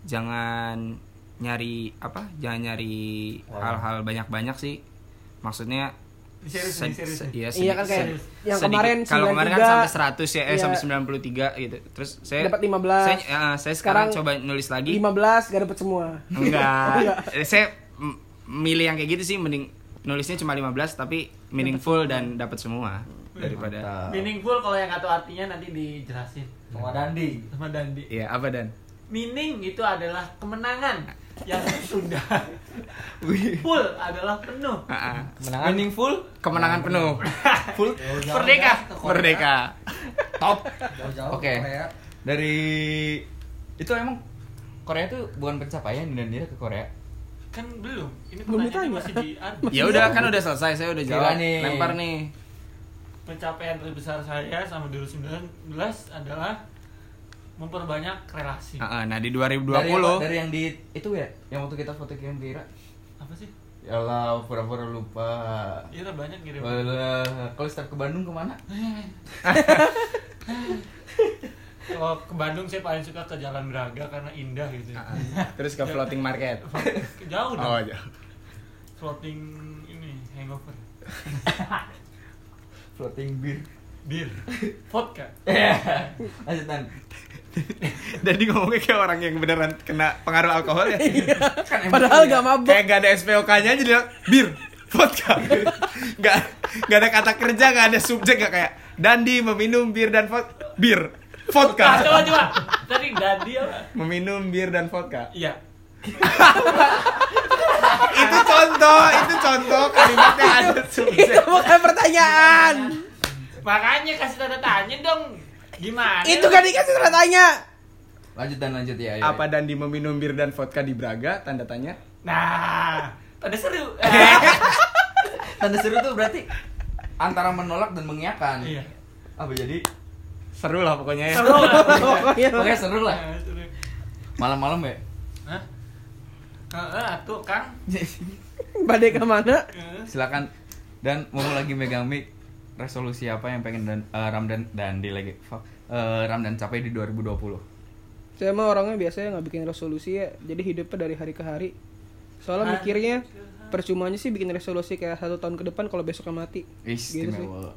S7: jangan nyari apa? Jangan nyari hal-hal banyak-banyak sih. Maksudnya
S3: Serius
S7: se-
S3: nih, serius
S7: se-
S3: nih.
S7: iya,
S5: Iya kan
S7: sedikit-
S5: kayak
S7: sedikit-
S5: yang
S7: sedikit.
S5: kemarin
S7: kalau kemarin kan
S5: 93,
S7: sampai 100 ya eh
S5: iya.
S7: sampai 93 gitu. Terus saya
S5: Dapat 15.
S7: Saya, eh, saya sekarang,
S5: Sekarang
S7: coba nulis lagi.
S5: 15 gak dapet semua.
S7: Enggak. Eh, saya m- milih yang kayak gitu sih mending nulisnya cuma 15 tapi meaningful dan dapat semua daripada
S3: meaningful kalau yang nggak tahu artinya nanti
S6: Ah.
S3: dijelasin
S6: Sama Dandi.
S3: sama Dandi
S7: Iya, apa dan?
S3: meaning itu adalah kemenangan yang sudah full adalah penuh
S7: Ah, ah.
S6: Meaningful?
S7: Kemenangan penuh.
S6: Nah, Full?
S3: merdeka
S7: Merdeka.
S6: Top. Oke. Dari itu emang Korea tuh bukan pencapaian dan dia ke Korea.
S3: kan belum ini
S5: Belum
S3: pertanyaannya
S5: ditanya.
S3: masih di
S7: Ya udah kan udah selesai, saya udah
S6: Gila
S7: jawab.
S6: nih.
S7: Lempar nih.
S3: pencapaian terbesar saya sama 2019 adalah memperbanyak relasi
S7: Ah, ah, nah di
S6: Dari, yang-
S7: 2020
S6: dari yang di itu ya, yang waktu kita foto kirim ke Ira.
S3: apa sih
S6: Ya Allah, pura-pura lupa.
S3: iya banyak ngirim
S6: Walah, kalau setiap ke Bandung kemana?
S3: kalau ke Bandung saya paling suka ke Jalan Braga karena indah gitu ya.
S7: terus ke floating market.
S3: jauh
S6: Nah.
S3: dong
S7: Ah, Oh, jauh.
S3: floating ini hangover
S6: Floating beer.
S3: bir vodka
S6: Lanjut Dan.
S7: Jadi ngomongnya kayak orang yang beneran kena pengaruh alkohol ya.
S6: Kan emang
S5: Padahal
S6: iya.
S5: gak mabok.
S7: kayak gak ada SPOK-nya aja dia bir vodka nggak nggak ada kata kerja nggak ada subjek nggak kayak Dandi meminum bir dan vod bir
S3: Ah,
S7: vodka
S3: coba coba tadi Dadi apa?
S7: Meminum bir dan vodka.
S3: Iya.
S7: itu contoh, itu contoh kalimatnya ada subset.
S5: Itu bukan pertanyaan.
S3: Makanya kasih tanda tanya dong. Gimana?
S5: Itu kan dikasih tanda tanya.
S6: Lanjut dan lanjut ya. ya.
S7: Apa Dandi meminum bir dan vodka di Braga? Tanda tanya.
S3: Nah, tanda seru.
S4: Iya.
S6: Tanda seru tuh berarti antara menolak dan mengiyakan.
S3: Iya.
S6: Apa jadi?
S7: Seru lah pokoknya ya.
S3: seru lah.
S6: Oke seru lah.
S3: Nah, seru.
S6: Malam-malam ya.
S3: Hah? Heeh, tuh Kang.
S5: Badai kemana?
S3: Heeh.
S6: Silakan. Dan mau lagi megang mic. Resolusi apa yang pengen dan, eh, Ramdan Dandi lagi? Fuck. Eh, Ramdan capai di 2020.
S5: Saya mah orangnya biasanya nggak bikin resolusi ya, jadi hidupnya dari hari ke hari. Soalnya
S3: Hari
S5: mikirnya percumanya sih bikin resolusi kayak satu tahun ke depan kalau besok mati. Gitu
S6: Istimewa.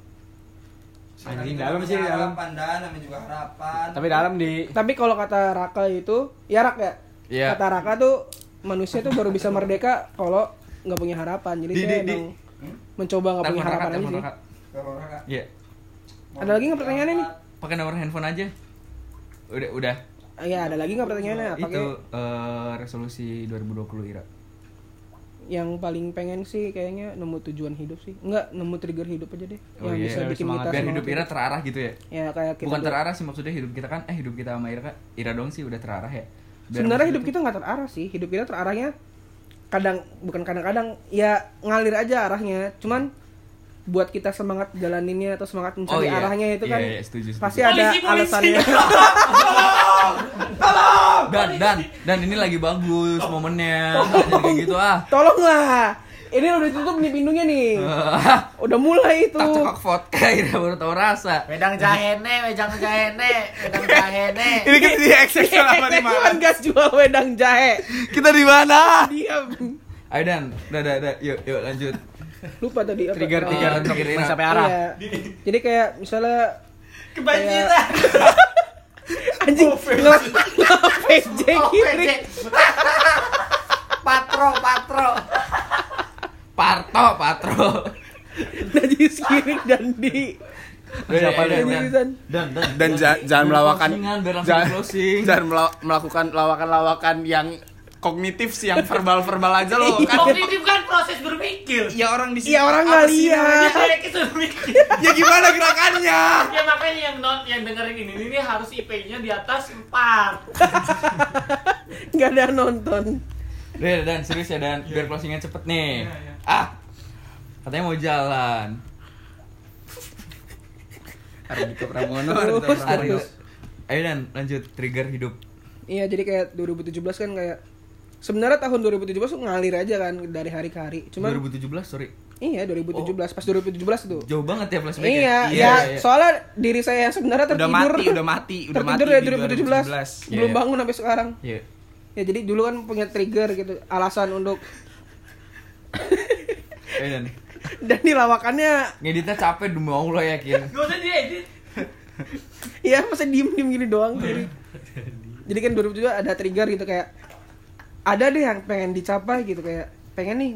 S7: Anjing dalam
S6: Iya,
S7: sih dalam.
S9: Pandaan namanya juga harapan.
S7: Tapi dalam di
S5: Tapi kalau kata Raka itu, ya Rak ya.
S6: Iya.
S5: Kata Raka tuh manusia tuh baru bisa merdeka kalau nggak punya harapan. Jadi
S6: Di-
S5: saya
S6: di- di-
S5: emang mencoba nggak punya
S6: Telepon
S5: harapan
S6: Raka,
S5: aja
S6: telepon
S5: sih.
S6: Raka.
S9: Kalau orang kan,
S6: Iya.
S5: Ada lagi nggak pertanyaannya nih?
S6: Pakai nomor handphone aja. Udah udah.
S5: Ah, Ya ada lagi nggak pertanyaannya? Apa
S6: Itu
S5: kayak
S6: eh, resolusi 2020 Ira.
S5: yang paling pengen sih kayaknya nemu tujuan hidup sih. Nggak nemu trigger hidup aja deh.
S6: Oh
S5: yang
S6: iya,
S5: bisa
S6: biar
S5: bikin
S7: semangat,
S5: kita
S6: Biar
S5: semangat.
S6: hidup Ira terarah gitu ya.
S5: Ya kayak kita
S6: Bukan
S5: biar-
S6: terarah sih maksudnya hidup kita kan eh hidup kita sama Ira kan Ira dong sih udah terarah ya. Biar
S5: Sebenarnya
S6: maksudnya
S5: hidup kita nggak terarah sih. Hidup kita terarahnya kadang bukan kadang-kadang ya ngalir aja arahnya. Cuman buat kita semangat jalaninnya atau semangat
S6: tuh-
S5: mencari
S6: iya.
S5: arahnya itu
S6: Iya,
S5: kan
S6: iya, setuju, setuju.
S5: pasti ada
S3: Polisi, polisi.
S5: alasannya.
S6: dan dan dan ini lagi bagus
S7: Oh.
S6: momennya. Jadi kayak gitu ah.
S5: Tolonglah. Ini udah ditutup nih pintunya nih. Udah mulai itu.
S6: Tak cekok vodka Ira baru tahu rasa.
S4: Wedang jahene, wedang jahene, wedang jahene.
S7: ini kita di eksis sama di
S5: Cuman gas jual wedang jahe.
S6: Kita di mana?
S5: Diam.
S6: Ayo Dan, udah udah udah yuk yuk lanjut.
S5: Lupa tadi apa.
S7: Trigger
S5: Oh,
S7: trigger
S4: Eh,
S6: Oh,
S7: untuk
S6: trigger Ira.
S7: sampai arah.
S5: Iya. Jadi kayak misalnya
S3: Kebanjiran.
S5: anjing ngelap ngelap PJ kiri.
S4: Patro, patro.
S6: Parto, Patro.
S5: Najis kiri dan di
S7: Siapa
S6: Iya, iya,
S7: deh, Dan?
S6: iya.
S5: Najis dan
S7: dan ja- jangan melawakan
S6: closingan, biar langsung
S7: jangan,
S6: closing.
S7: jangan mela- melakukan lawakan-lawakan yang kognitif sih yang verbal-verbal aja loh kan
S3: Kognitif kan proses berpikir.
S7: ya orang di sini
S5: Iya orang
S7: apa
S5: nggak
S7: sih
S5: lihat.
S3: Dia kayak gitu berpikir.
S7: namanya? ya gimana gerakannya
S3: Ya makanya yang non yang dengerin ini ini harus IP-nya di atas 4.
S5: nggak ada yang nonton.
S6: Deh, Dan serius ya Dan,
S5: Iya.
S6: biar closingnya cepet nih.
S3: Iya, iya.
S6: Ah, katanya mau jalan.
S7: Ardhito Pramono
S5: Terus,
S7: Ardhito Pramono
S5: terus.
S6: Ayo Dan, lanjut trigger hidup.
S5: Iya jadi kayak 2017 kan kayak sebenarnya tahun 2017 tuh ngalir aja kan dari hari ke hari. Cuman
S6: 2017, sorry.
S5: iya 2017 pas 2017 tuh.
S6: Jauh banget ya flashback
S5: Iya,
S6: ya.
S5: ya, soalnya diri saya yang sebenarnya
S7: udah
S5: tertidur.
S7: mati udah mati udah mati
S5: tertidur dari 2017, belum
S6: Iya.
S5: bangun sampai sekarang.
S6: Iya.
S5: Ya jadi dulu kan punya trigger gitu, alasan untuk
S6: Ayo Dan.
S5: dan nih lawakannya
S6: Ngeditnya capek demi Allah yakin.
S3: Gak usah diedit.
S5: ya masa diem diem gini doang jadi jadi kan 2017 ada trigger gitu kayak ada deh yang pengen dicapai gitu kayak pengen nih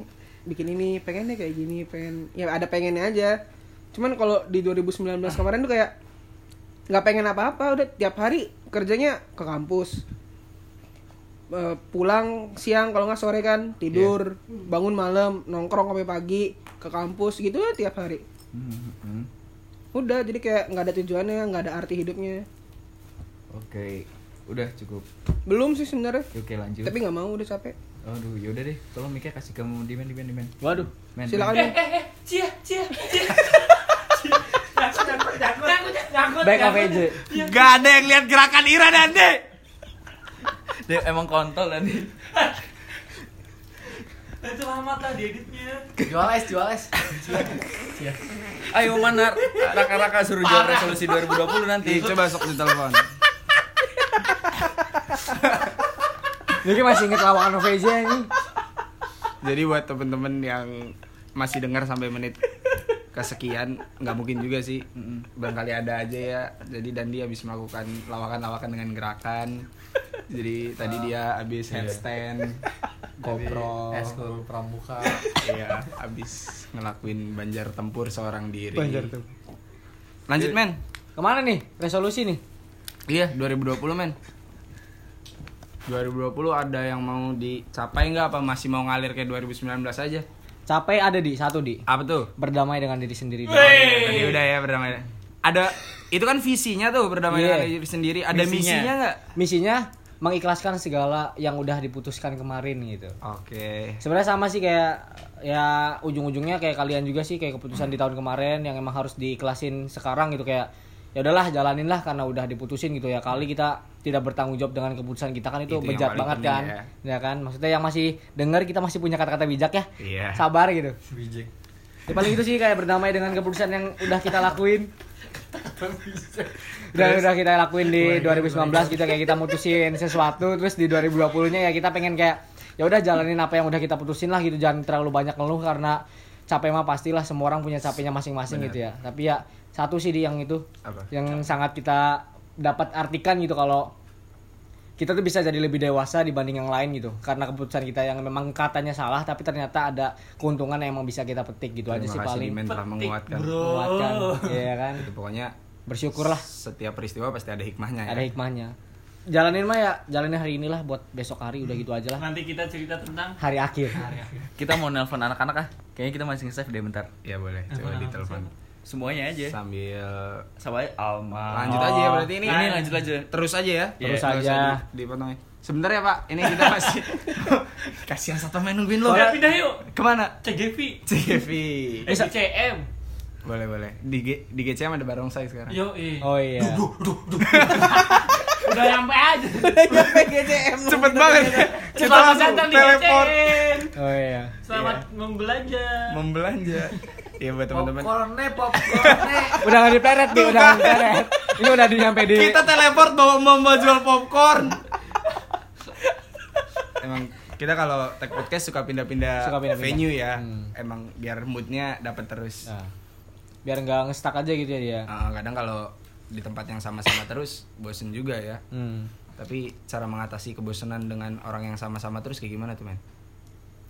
S5: bikin ini pengen deh kayak gini pengen ya ada pengennya aja cuman kalau di 2019 kemarin tuh kayak nggak pengen apa-apa udah tiap hari kerjanya ke kampus Eh, pulang siang kalau nggak sore kan tidur bangun malam nongkrong sampai pagi ke kampus gitu ya tiap hari
S6: Hmm, hmm.
S5: udah jadi kayak nggak ada tujuannya nggak ada arti hidupnya
S6: Oke. Udah cukup.
S5: belum sih sebenarnya
S6: Oke, lanjut.
S5: tapi nggak mau udah capek
S6: Aduh, yaudah deh. Tolong mic kasih ke Dimen, Dimen, Dimen.
S7: waduh
S6: Men,
S5: silakan
S3: Eh eh eh, cia cia cia. Nyangkut, nyangkut, nyangkut, nyangut,
S9: Baik apa
S3: nyangkut.
S9: aja?
S7: gak Iya. ada yang lihat gerakan Ira dan De
S6: men. Dia emang kontol tadi.
S3: Itu lama tadi editnya.
S4: Jual es, jual es.
S6: Ayo mana raka-raka suruh jawab resolusi 2020 nanti. Coba
S7: Iya, coba sok di telepon
S9: Jadi masih inget lawakan OVJ ini.
S7: jadi buat temen-temen yang masih dengar sampai menit kesekian nggak mungkin juga sih barangkali ada aja ya jadi Dandi habis melakukan lawakan-lawakan dengan gerakan jadi tadi dia habis headstand GoPro
S9: Eskul pramuka.
S7: iya habis ngelakuin banjar tempur seorang diri lanjut men
S9: Kemana nih? Resolusi nih.
S7: iya 2020 men 2020 ada yang mau dicapai nggak apa masih mau ngalir kayak 2019 aja?
S4: Capek ada di satu di
S7: Apa tuh?
S4: berdamai dengan diri sendiri. Di.
S7: Tadi udah ya berdamai. Ada itu kan visinya tuh berdamai
S4: Iya.
S7: dengan diri sendiri. Ada
S3: Misinya.
S7: misinya nggak?
S4: Misinya mengikhlaskan segala yang udah diputuskan kemarin gitu.
S7: Oke.
S4: Sebenarnya sama sih kayak ya ujung-ujungnya kayak kalian juga sih kayak keputusan
S7: Hmm.
S4: di tahun kemarin yang emang harus diiklasin sekarang gitu kayak ya udahlah jalanin lah karena udah diputusin gitu ya kali kita tidak bertanggung jawab dengan keputusan kita kan itu,
S7: Hmm. Itu yang
S4: bejat
S7: paling
S4: banget
S7: penting
S4: kan ya. kan maksudnya yang masih dengar kita masih punya kata-kata bijak ya
S7: Iya.
S4: sabar gitu Ya, paling itu sih kayak berdamai dengan keputusan yang udah kita lakuin udah udah kita lakuin di 2019 gitu kayak kita mutusin sesuatu terus di 2020-nya ya kita pengen kayak ya udah jalanin apa yang udah kita putusin lah gitu jangan terlalu banyak ngeluh karena capek mah pastilah semua orang punya capeknya masing-masing gitu ya tapi ya satu sih di yang itu
S7: Apa?
S4: yang sangat kita dapat artikan gitu kalau kita tuh bisa jadi lebih dewasa dibanding yang lain gitu karena keputusan kita yang memang katanya salah tapi ternyata ada keuntungan yang emang bisa kita petik gitu aja
S7: Terima
S4: sih
S7: kasih
S4: paling
S7: Dimen telah menguatkan.
S4: menguatkan Iya kan
S7: Itu pokoknya
S4: bersyukurlah
S7: setiap peristiwa pasti ada hikmahnya ya.
S4: ada hikmahnya jalanin mah ya jalanin hari inilah buat besok hari udah gitu aja lah
S3: Nanti kita cerita tentang
S4: hari akhir
S6: Kita mau nelpon anak-anak ah. Kayaknya kita masih nge-save deh bentar.
S7: Ya boleh, coba ditelepon.
S6: Semuanya aja.
S7: Sambil
S6: Sama Alma.
S7: lanjut aja ya berarti ini.
S6: Ini lanjut aja.
S7: terus aja ya.
S6: Terus
S4: aja.
S7: Nggak usah di- Dipotong ya. Sebentar ya, Pak. Ini kita masih kasihan satu main nungguin lo.
S3: Udah pindah yuk
S7: Kemana?
S3: CGV
S7: CV.
S3: Eh, CM
S7: Boleh, boleh. Di G di GCM ada barongsai sekarang.
S3: Yo eh.
S4: oh iya
S3: Udah nyampe aja
S4: Iya,
S7: Cepet banget. ya. Kita
S3: Selamat
S7: langsung
S3: datang di
S7: teleport
S3: CM
S4: oh iya
S3: Selamat membelanja
S7: membelanja. Ya buat teman-teman.
S4: udah nggak dipleret nih udah nggak dipleret ini udah nyampe di
S7: Kita teleport bawa mama jual popcorn. Emang kita kalau tag podcast suka pindah-pindah
S4: Suka pindah-pindah.
S7: venue ya.
S4: Hmm.
S7: Emang biar moodnya dapat terus.
S4: Nah, biar nggak ngestak aja gitu ya dia
S7: Ah, kadang kalau di tempat yang sama-sama terus bosen juga ya.
S4: hmm.
S7: Tapi cara mengatasi kebosanan dengan orang yang sama-sama terus kayak gimana tuh, men?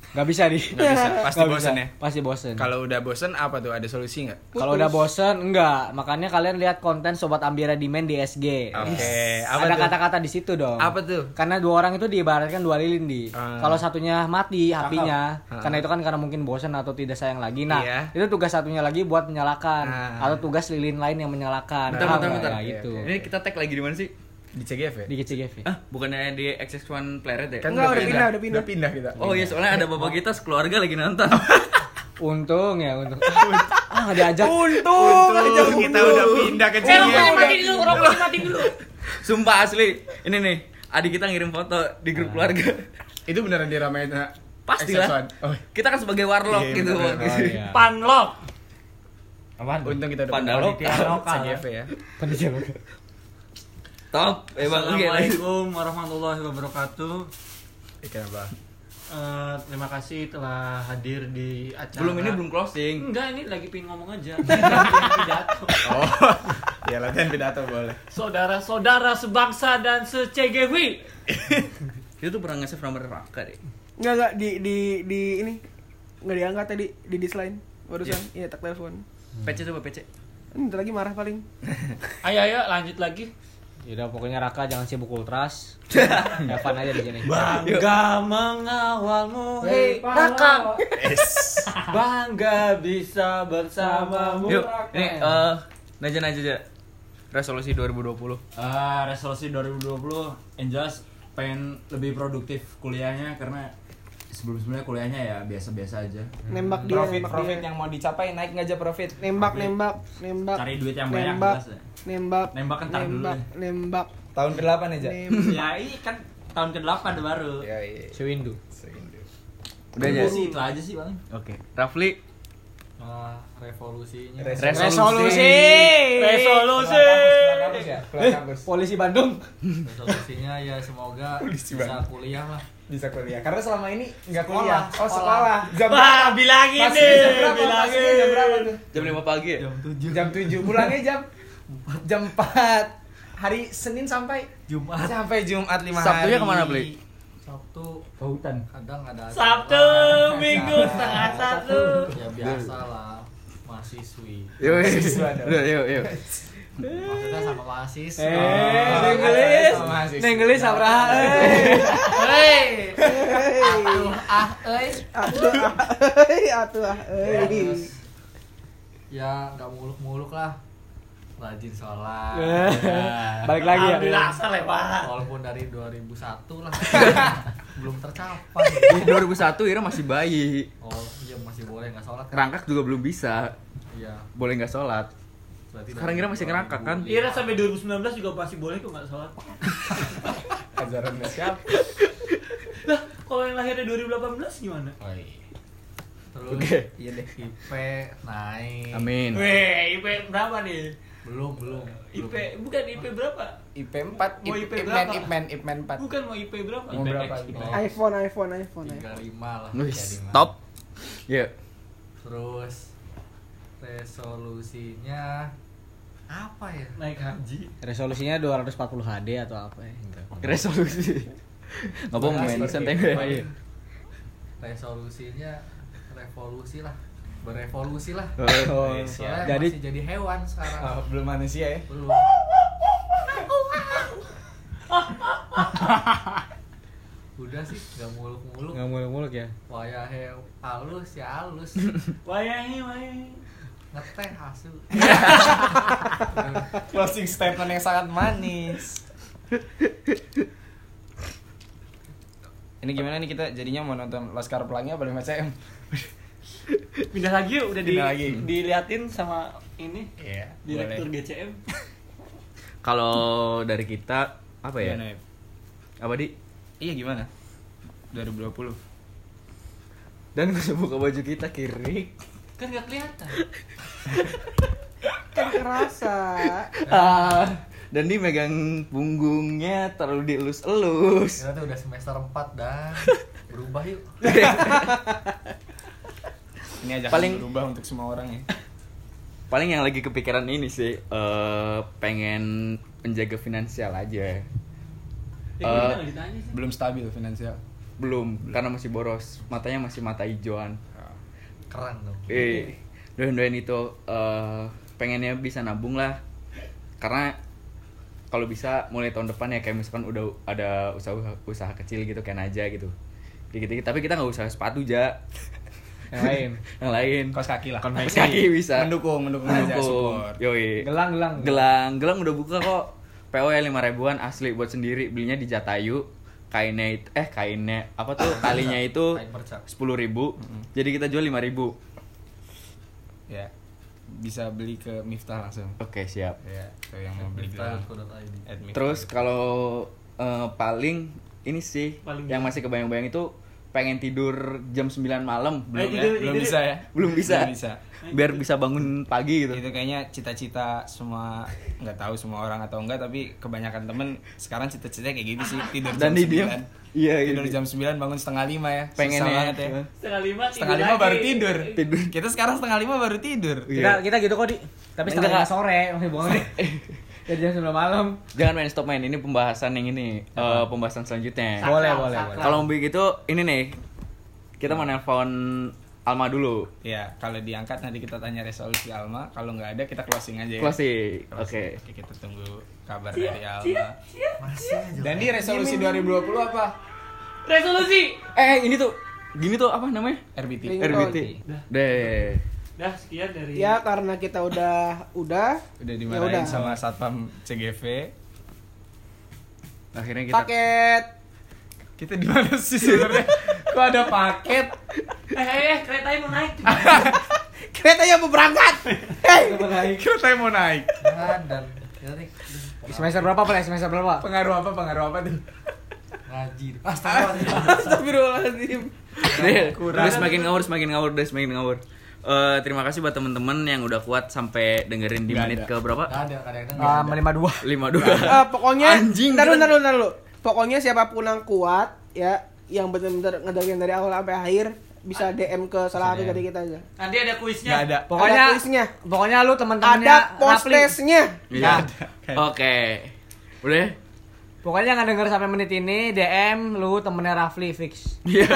S4: Gak bisa di
S7: Nggak bisa, pasti
S4: Nggak
S7: bosen ya?
S4: Pasti bosen
S6: Hmm.
S7: Kalau udah bosen apa tuh? Ada solusi nggak?
S4: Kalau udah bosen, enggak. Makanya kalian lihat konten Sobat Ambira Demand di SG.
S7: Oke,
S4: Is,
S7: apa
S4: Ada
S7: tuh?
S4: kata-kata di situ dong.
S7: Apa tuh?
S4: Karena dua orang itu diibaratkan dua lilin di.
S7: Ah.
S4: Kalau satunya mati apinya,
S7: Ah.
S4: karena itu kan karena mungkin bosen atau tidak sayang lagi. Nah,
S7: Iya.
S4: itu tugas satunya lagi buat menyalakan
S7: Ah.
S4: atau tugas lilin lain yang menyalakan.
S6: Bentar,
S4: Paham
S6: bentar,
S4: nggak?
S6: bentar. Iya,
S4: Ya, gitu.
S6: Ini kita tag lagi di mana sih?
S7: Di CGF ya?
S4: Di GCGV.
S6: Ah, bukannya di XX1 Player ya?
S5: Enggak, udah pindah, udah pindah.
S7: Udah pindah kita.
S6: Oh iya, soalnya ada bapak kita sekeluarga lagi nonton.
S4: Untung ya, untung. ah, nggak diajak.
S7: Untung aja kita udah pindah ke
S3: Eh rokoknya
S7: CGF.
S3: matiin dulu Rokoknya matiin dulu
S6: Sumpah asli. Ini nih, adik kita ngirim foto di grup keluarga.
S7: Itu beneran diramein nah,
S6: Pastilah.
S7: XX1. Oh,
S6: Kita kan sebagai warlock
S7: Iya, iya,
S6: gitu.
S7: bener.
S6: Pak.
S7: Oh, iya.
S3: Panlok
S7: Untung kita udah
S6: Pandalo.
S7: pindah CGF ya.
S4: Pendidikan.
S6: Top, emang Eh, oke lagi.
S3: Assalamualaikum warahmatullahi wabarakatuh
S7: Eh, kenapa?
S3: Eh, Terima kasih telah hadir di acara
S6: Belum ini belum closing.
S3: Enggak, ini lagi pingin ngomong aja Lagi pidato.
S7: Oh. ya latihan pidato boleh.
S3: Saudara-saudara sebangsa dan se-CGV
S6: Dia tuh pernah nge-save nomor Raka deh.
S5: Enggak enggak di di di ini enggak diangkat tadi di dislike barusan. Iya, tak telepon.
S6: PC coba PC.
S5: Entar lagi marah paling.
S3: Ayo, ayo, lanjut lagi
S4: Yaudah, pokoknya Raka jangan sibuk ultras. Evan aja di sini.
S3: Bangga mengawalmu, hei
S4: Raka.
S7: Yes.
S3: Bangga bisa bersamamu
S6: Yuk, ini eh naja naja aja. Resolusi 2020.
S8: Ah, resolusi 2020 Angelas pengen lebih produktif kuliahnya karena sebelum sebelumnya kuliahnya ya biasa-biasa aja
S5: Nembak dia,
S7: Profit
S5: nembak
S7: profit
S5: dia.
S7: yang mau dicapai naik nggak aja profit.
S5: Nembak, nembak, nembak.
S8: cari duit yang banyak
S5: nembak,
S8: jelas ya.
S5: nembak,
S8: Nembak entar dulu
S4: ya.
S5: nembak,
S8: deh.
S5: nembak,
S7: Tahun ke-8 aja.
S5: nembak.
S3: Ya, ini kan tahun ke-8 baru
S7: Ya iya.
S4: Sewindu.
S6: Udah aja.
S8: Itu sih itu aja sih paling
S6: Oke. Rafli,
S3: Wah,
S7: Ah,
S3: revolusinya
S4: Resolusi.
S3: Resolusi
S7: ya? Eh,
S4: Polisi Bandung.
S3: Resolusinya ya semoga bisa kuliah lah
S7: Bisa kuliah. Karena selama ini nggak kuliah. Oh, sekolah. Jam
S3: Wah, bilangin
S7: masuknya
S3: deh,
S7: jam berapa?
S3: bilangin
S7: Masuknya jam berapa tuh?
S6: jam 5 pagi ya?
S7: Jam 7. Pulangnya jam jam 4. Hari Senin sampai
S3: Jumat,
S7: sampai Jumat 5 hari.
S6: Sabtunya kemana, Bli?
S3: Sabtu,
S9: Pautan.
S3: Sabtu, Minggu, setengah satu
S9: Ya biasa lah. Mas
S10: mahasiswi
S6: Yuk, yuk, yuk, yuk.
S10: maksudnya sama
S7: Oh.
S10: mahasiswa
S4: Eh, nenggelis, nenggelis Abraha. eh.
S10: hei
S3: ah, eh.
S5: Atuh, ah, eh, atuh, ah, eh.
S10: terus ya nggak muluk-muluk lah rajin sholat
S4: Eh, Balik lagi ya.
S10: Alhamdulillah, asal lewat walaupun dari 2001 lah belum tercapai
S6: Di 2001 Ira masih bayi.
S10: oh iya masih boleh nggak sholat kan?
S6: Rangkak juga belum bisa.
S10: iya
S6: Boleh nggak sholat.
S10: berarti
S6: Sekarang
S10: dari
S6: Ira masih ngerangkak, kan?
S10: 2005.
S3: Ira sampai 2019 juga masih boleh kok nggak sholat.
S11: Ajarannya siapa?
S3: Lah, kalau yang lahirnya 2018 gimana?
S10: Oh, iya. terus
S6: Iya deh.
S10: IP naik
S6: Amin.
S10: Iya.
S3: Weh, IP berapa nih?
S10: belum belum
S3: IP
S10: belum.
S3: bukan IP berapa?
S11: IP 4,
S3: Mau
S11: IP,
S3: IP
S11: Ipman,
S3: berapa?
S11: Ipman, Ipman 4.
S3: Bukan mau IP berapa?
S11: Mau berapa?
S10: Oh,
S5: iPhone, iPhone, iPhone. ya. iPhone.
S10: 35 lah
S6: Nuh,
S10: 35.
S6: stop. Yuk.
S10: terus resolusinya apa ya
S3: Naik haji.
S4: Resolusinya 240 HD atau apa ya?
S6: Resolusi. Ngapa
S10: Nah,
S6: mau mention tempe?
S10: resolusinya revolusi lah berevolusi lah
S6: Oh,
S10: soalnya
S4: Iya, Jadi-
S10: masih jadi hewan sekarang
S11: belum manusia ya.
S10: belum udah sih nggak muluk-muluk
S4: Nggak muluk-muluk ya?
S10: wayah he- halus ya halus
S3: Wayahi, wayahi.
S10: ngeteh asu
S11: Closing statement yang sangat manis.
S7: Ini gimana nih kita jadinya mau nonton Laskar Pelangi apa Lima CM?
S3: Pindah lagi yuk, udah di,
S7: Pindah lagi.
S3: diliatin sama ini
S7: Iya.
S3: direktur GCM.
S6: Kalau dari kita apa ya?
S7: Gimana, Ip?
S6: Apa di?
S7: Iya gimana? 2020.
S6: Dan gue buka baju kita kiri.
S10: kan nggak kelihatan
S5: Kan kerasa.
S6: Ah, dan dia megang punggungnya terlalu dielus-elus.
S10: kita
S7: Ya.
S10: tuh udah semester 4 dan berubah yuk
S7: Ini aja
S6: Paling-
S7: Paling... berubah untuk semua orang ya.
S6: Paling yang lagi kepikiran ini sih eh, pengen penjaga finansial aja.
S3: Ya,
S6: Eh.
S3: gimana ditanya sih?
S7: Belum stabil finansial.
S6: Belum, karena masih boros. Matanya masih mata hijauan.
S7: Ya.
S10: keren dong
S6: Eh, doain-doain itu eh, pengennya bisa nabung lah. Karena kalau bisa mulai tahun depan ya kayak misalkan udah ada usaha usaha kecil gitu kayak aja gitu. Dikit-dikit tapi kita nggak usah sepatu ja.
S4: Yang lain.
S6: Yang lain.
S7: Kos kaki lah.
S6: Kos kaki bisa.
S7: Mendukung, mendukung, aja
S6: Mendukung.
S7: support.
S6: Yoi.
S4: Gelang, gelang.
S6: Gelang, gelang udah buka kok. PO ya lima ribuan asli buat sendiri belinya di Jatayu. Kainnya it- eh kainnya apa tuh talinya itu
S10: kain perca
S6: sepuluh ribu. Jadi kita jual lima ribu.
S7: Ya. Bisa beli ke Miftah langsung.
S6: Oke siap.
S7: Ya, kalau yang mau beli gelang.
S10: Miftah.co.id.
S7: At Miftah.
S6: Terus kalau eh, paling ini sih
S3: Paling
S6: yang masih kebayang-bayang itu pengen tidur jam 9 malam
S3: Eh,
S6: belum ya?
S3: tidur,
S7: belum
S3: tidur.
S7: bisa ya?
S6: Belum bisa.
S7: Belum bisa. Iya,
S6: biar bisa bangun pagi gitu.
S7: itu kayaknya cita-cita semua nggak tahu semua orang atau enggak tapi kebanyakan temen sekarang cita-citanya kayak gini sih tidur
S6: Dan
S7: jam
S6: di dia
S7: 9
S6: iya
S7: tidur
S6: gitu.
S7: jam 9 bangun setengah lima ya Susah
S6: Pengennya.
S7: banget ya
S3: Setengah lima, tidur
S7: setengah lima
S3: lagi.
S7: baru tidur
S6: Tidur.
S7: kita sekarang setengah lima baru tidur
S4: Kita
S6: Iya.
S4: kita gitu kok, Di. Tapi setengah
S6: Enggak.
S4: lima sore, masih bohong. Di. Dari jam 9 malam.
S6: Jangan main stop main ini pembahasan yang ini eh, pembahasan selanjutnya.
S4: Boleh, boleh, boleh.
S6: Kalau begitu ini nih kita mau nelpon Alma dulu.
S7: ya kalau diangkat nanti kita tanya resolusi Alma kalau nggak ada kita closing aja ya
S6: Closing.
S7: Closing.
S6: Oke.
S7: Oke, kita tunggu kabar dari Alma
S10: masih aja
S7: dan di resolusi 2020 apa
S3: Resolusi.
S6: Eh ini tuh gini tuh apa namanya?
S7: RBT
S5: Ring-
S6: RBT. Deh.
S3: Dah sekian dari
S5: Ya karena kita udah udah Ya
S7: udah dimarahin
S5: udah.
S7: sama satpam CGV
S4: Gitu.
S6: Akhirnya kita
S5: paket
S7: kita di mana sih sebenarnya kok ada paket
S3: Eh, eh, eh, keretanya mau naik.
S5: keretanya mau berangkat. Hei.
S7: kita mau naik
S10: Nah, dan Erik
S4: Semester berapa, Pak? Semester berapa?
S7: pengaruh apa pengaruh apa tuh
S10: ngaji astagfirullah
S5: Astagfirullahaladzim.
S6: Deh, udah semakin ngawur, semakin ngawur, udah semakin ngawur. Eh, terima kasih buat teman-teman yang udah kuat sampai dengerin di menit ke berapa?
S10: Nggak ada kadang-kadang nggak
S4: Ah,
S10: ada.
S4: lima dua.
S6: 52.
S5: Eh, pokoknya
S6: Anjing,
S5: Ntar dulu,
S6: keren.
S5: ntar dulu, ntar dulu. Pokoknya siapapun yang kuat ya yang benar-benar ngedengerin dari awal sampai akhir bisa DM ke salah satu dari kita aja.
S3: Nanti ada kuisnya.
S7: nggak ada
S5: Ada
S4: Pokoknya
S5: kuisnya.
S4: Pokoknya lu teman-temannya
S5: Ada
S4: Rafli.
S5: postesnya.
S6: Iya. Oke. Udah? ya?
S4: Pokoknya nggak denger sampai menit ini DM lu temennya Rafli fix.
S6: Iya.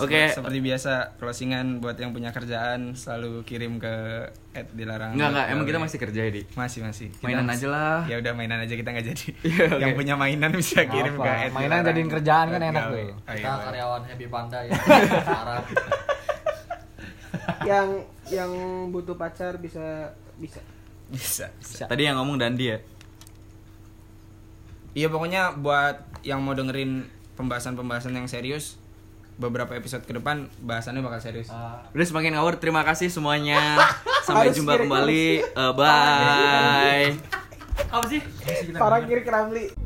S6: Oke,
S7: Oke. Seperti biasa closingan buat yang punya kerjaan selalu kirim ke at dilarang.
S6: Enggak enggak, emang kita masih kerja ya, Di.
S7: masih masih. Kita
S6: Mainan aja
S7: masih-
S6: lah.
S7: Ya udah mainan aja kita nggak jadi.
S6: Iya, oke.
S7: Yang punya mainan bisa kirim
S4: apa,
S7: ke at
S4: mainan
S7: dilarang.
S4: jadiin kerjaan kan enak,
S7: Gaul.
S4: Boy.
S7: Oh, iya,
S12: Kita
S7: boleh.
S12: karyawan Happy Panda
S7: Iya,
S12: ya. Sarap.
S5: yang yang butuh pacar bisa bisa
S7: Bisa, bisa.
S6: Tadi yang ngomong Dandi ya.
S7: Iya pokoknya buat yang mau dengerin pembahasan-pembahasan yang serius beberapa episode ke depan bahasannya bakal serius.
S6: Udah semakin ngawur, terima kasih semuanya. Sampai
S5: Harus
S6: jumpa
S5: kirim. Iya.
S6: kembali. Eh, bye.
S13: Apa sih?
S5: parang kiri keramli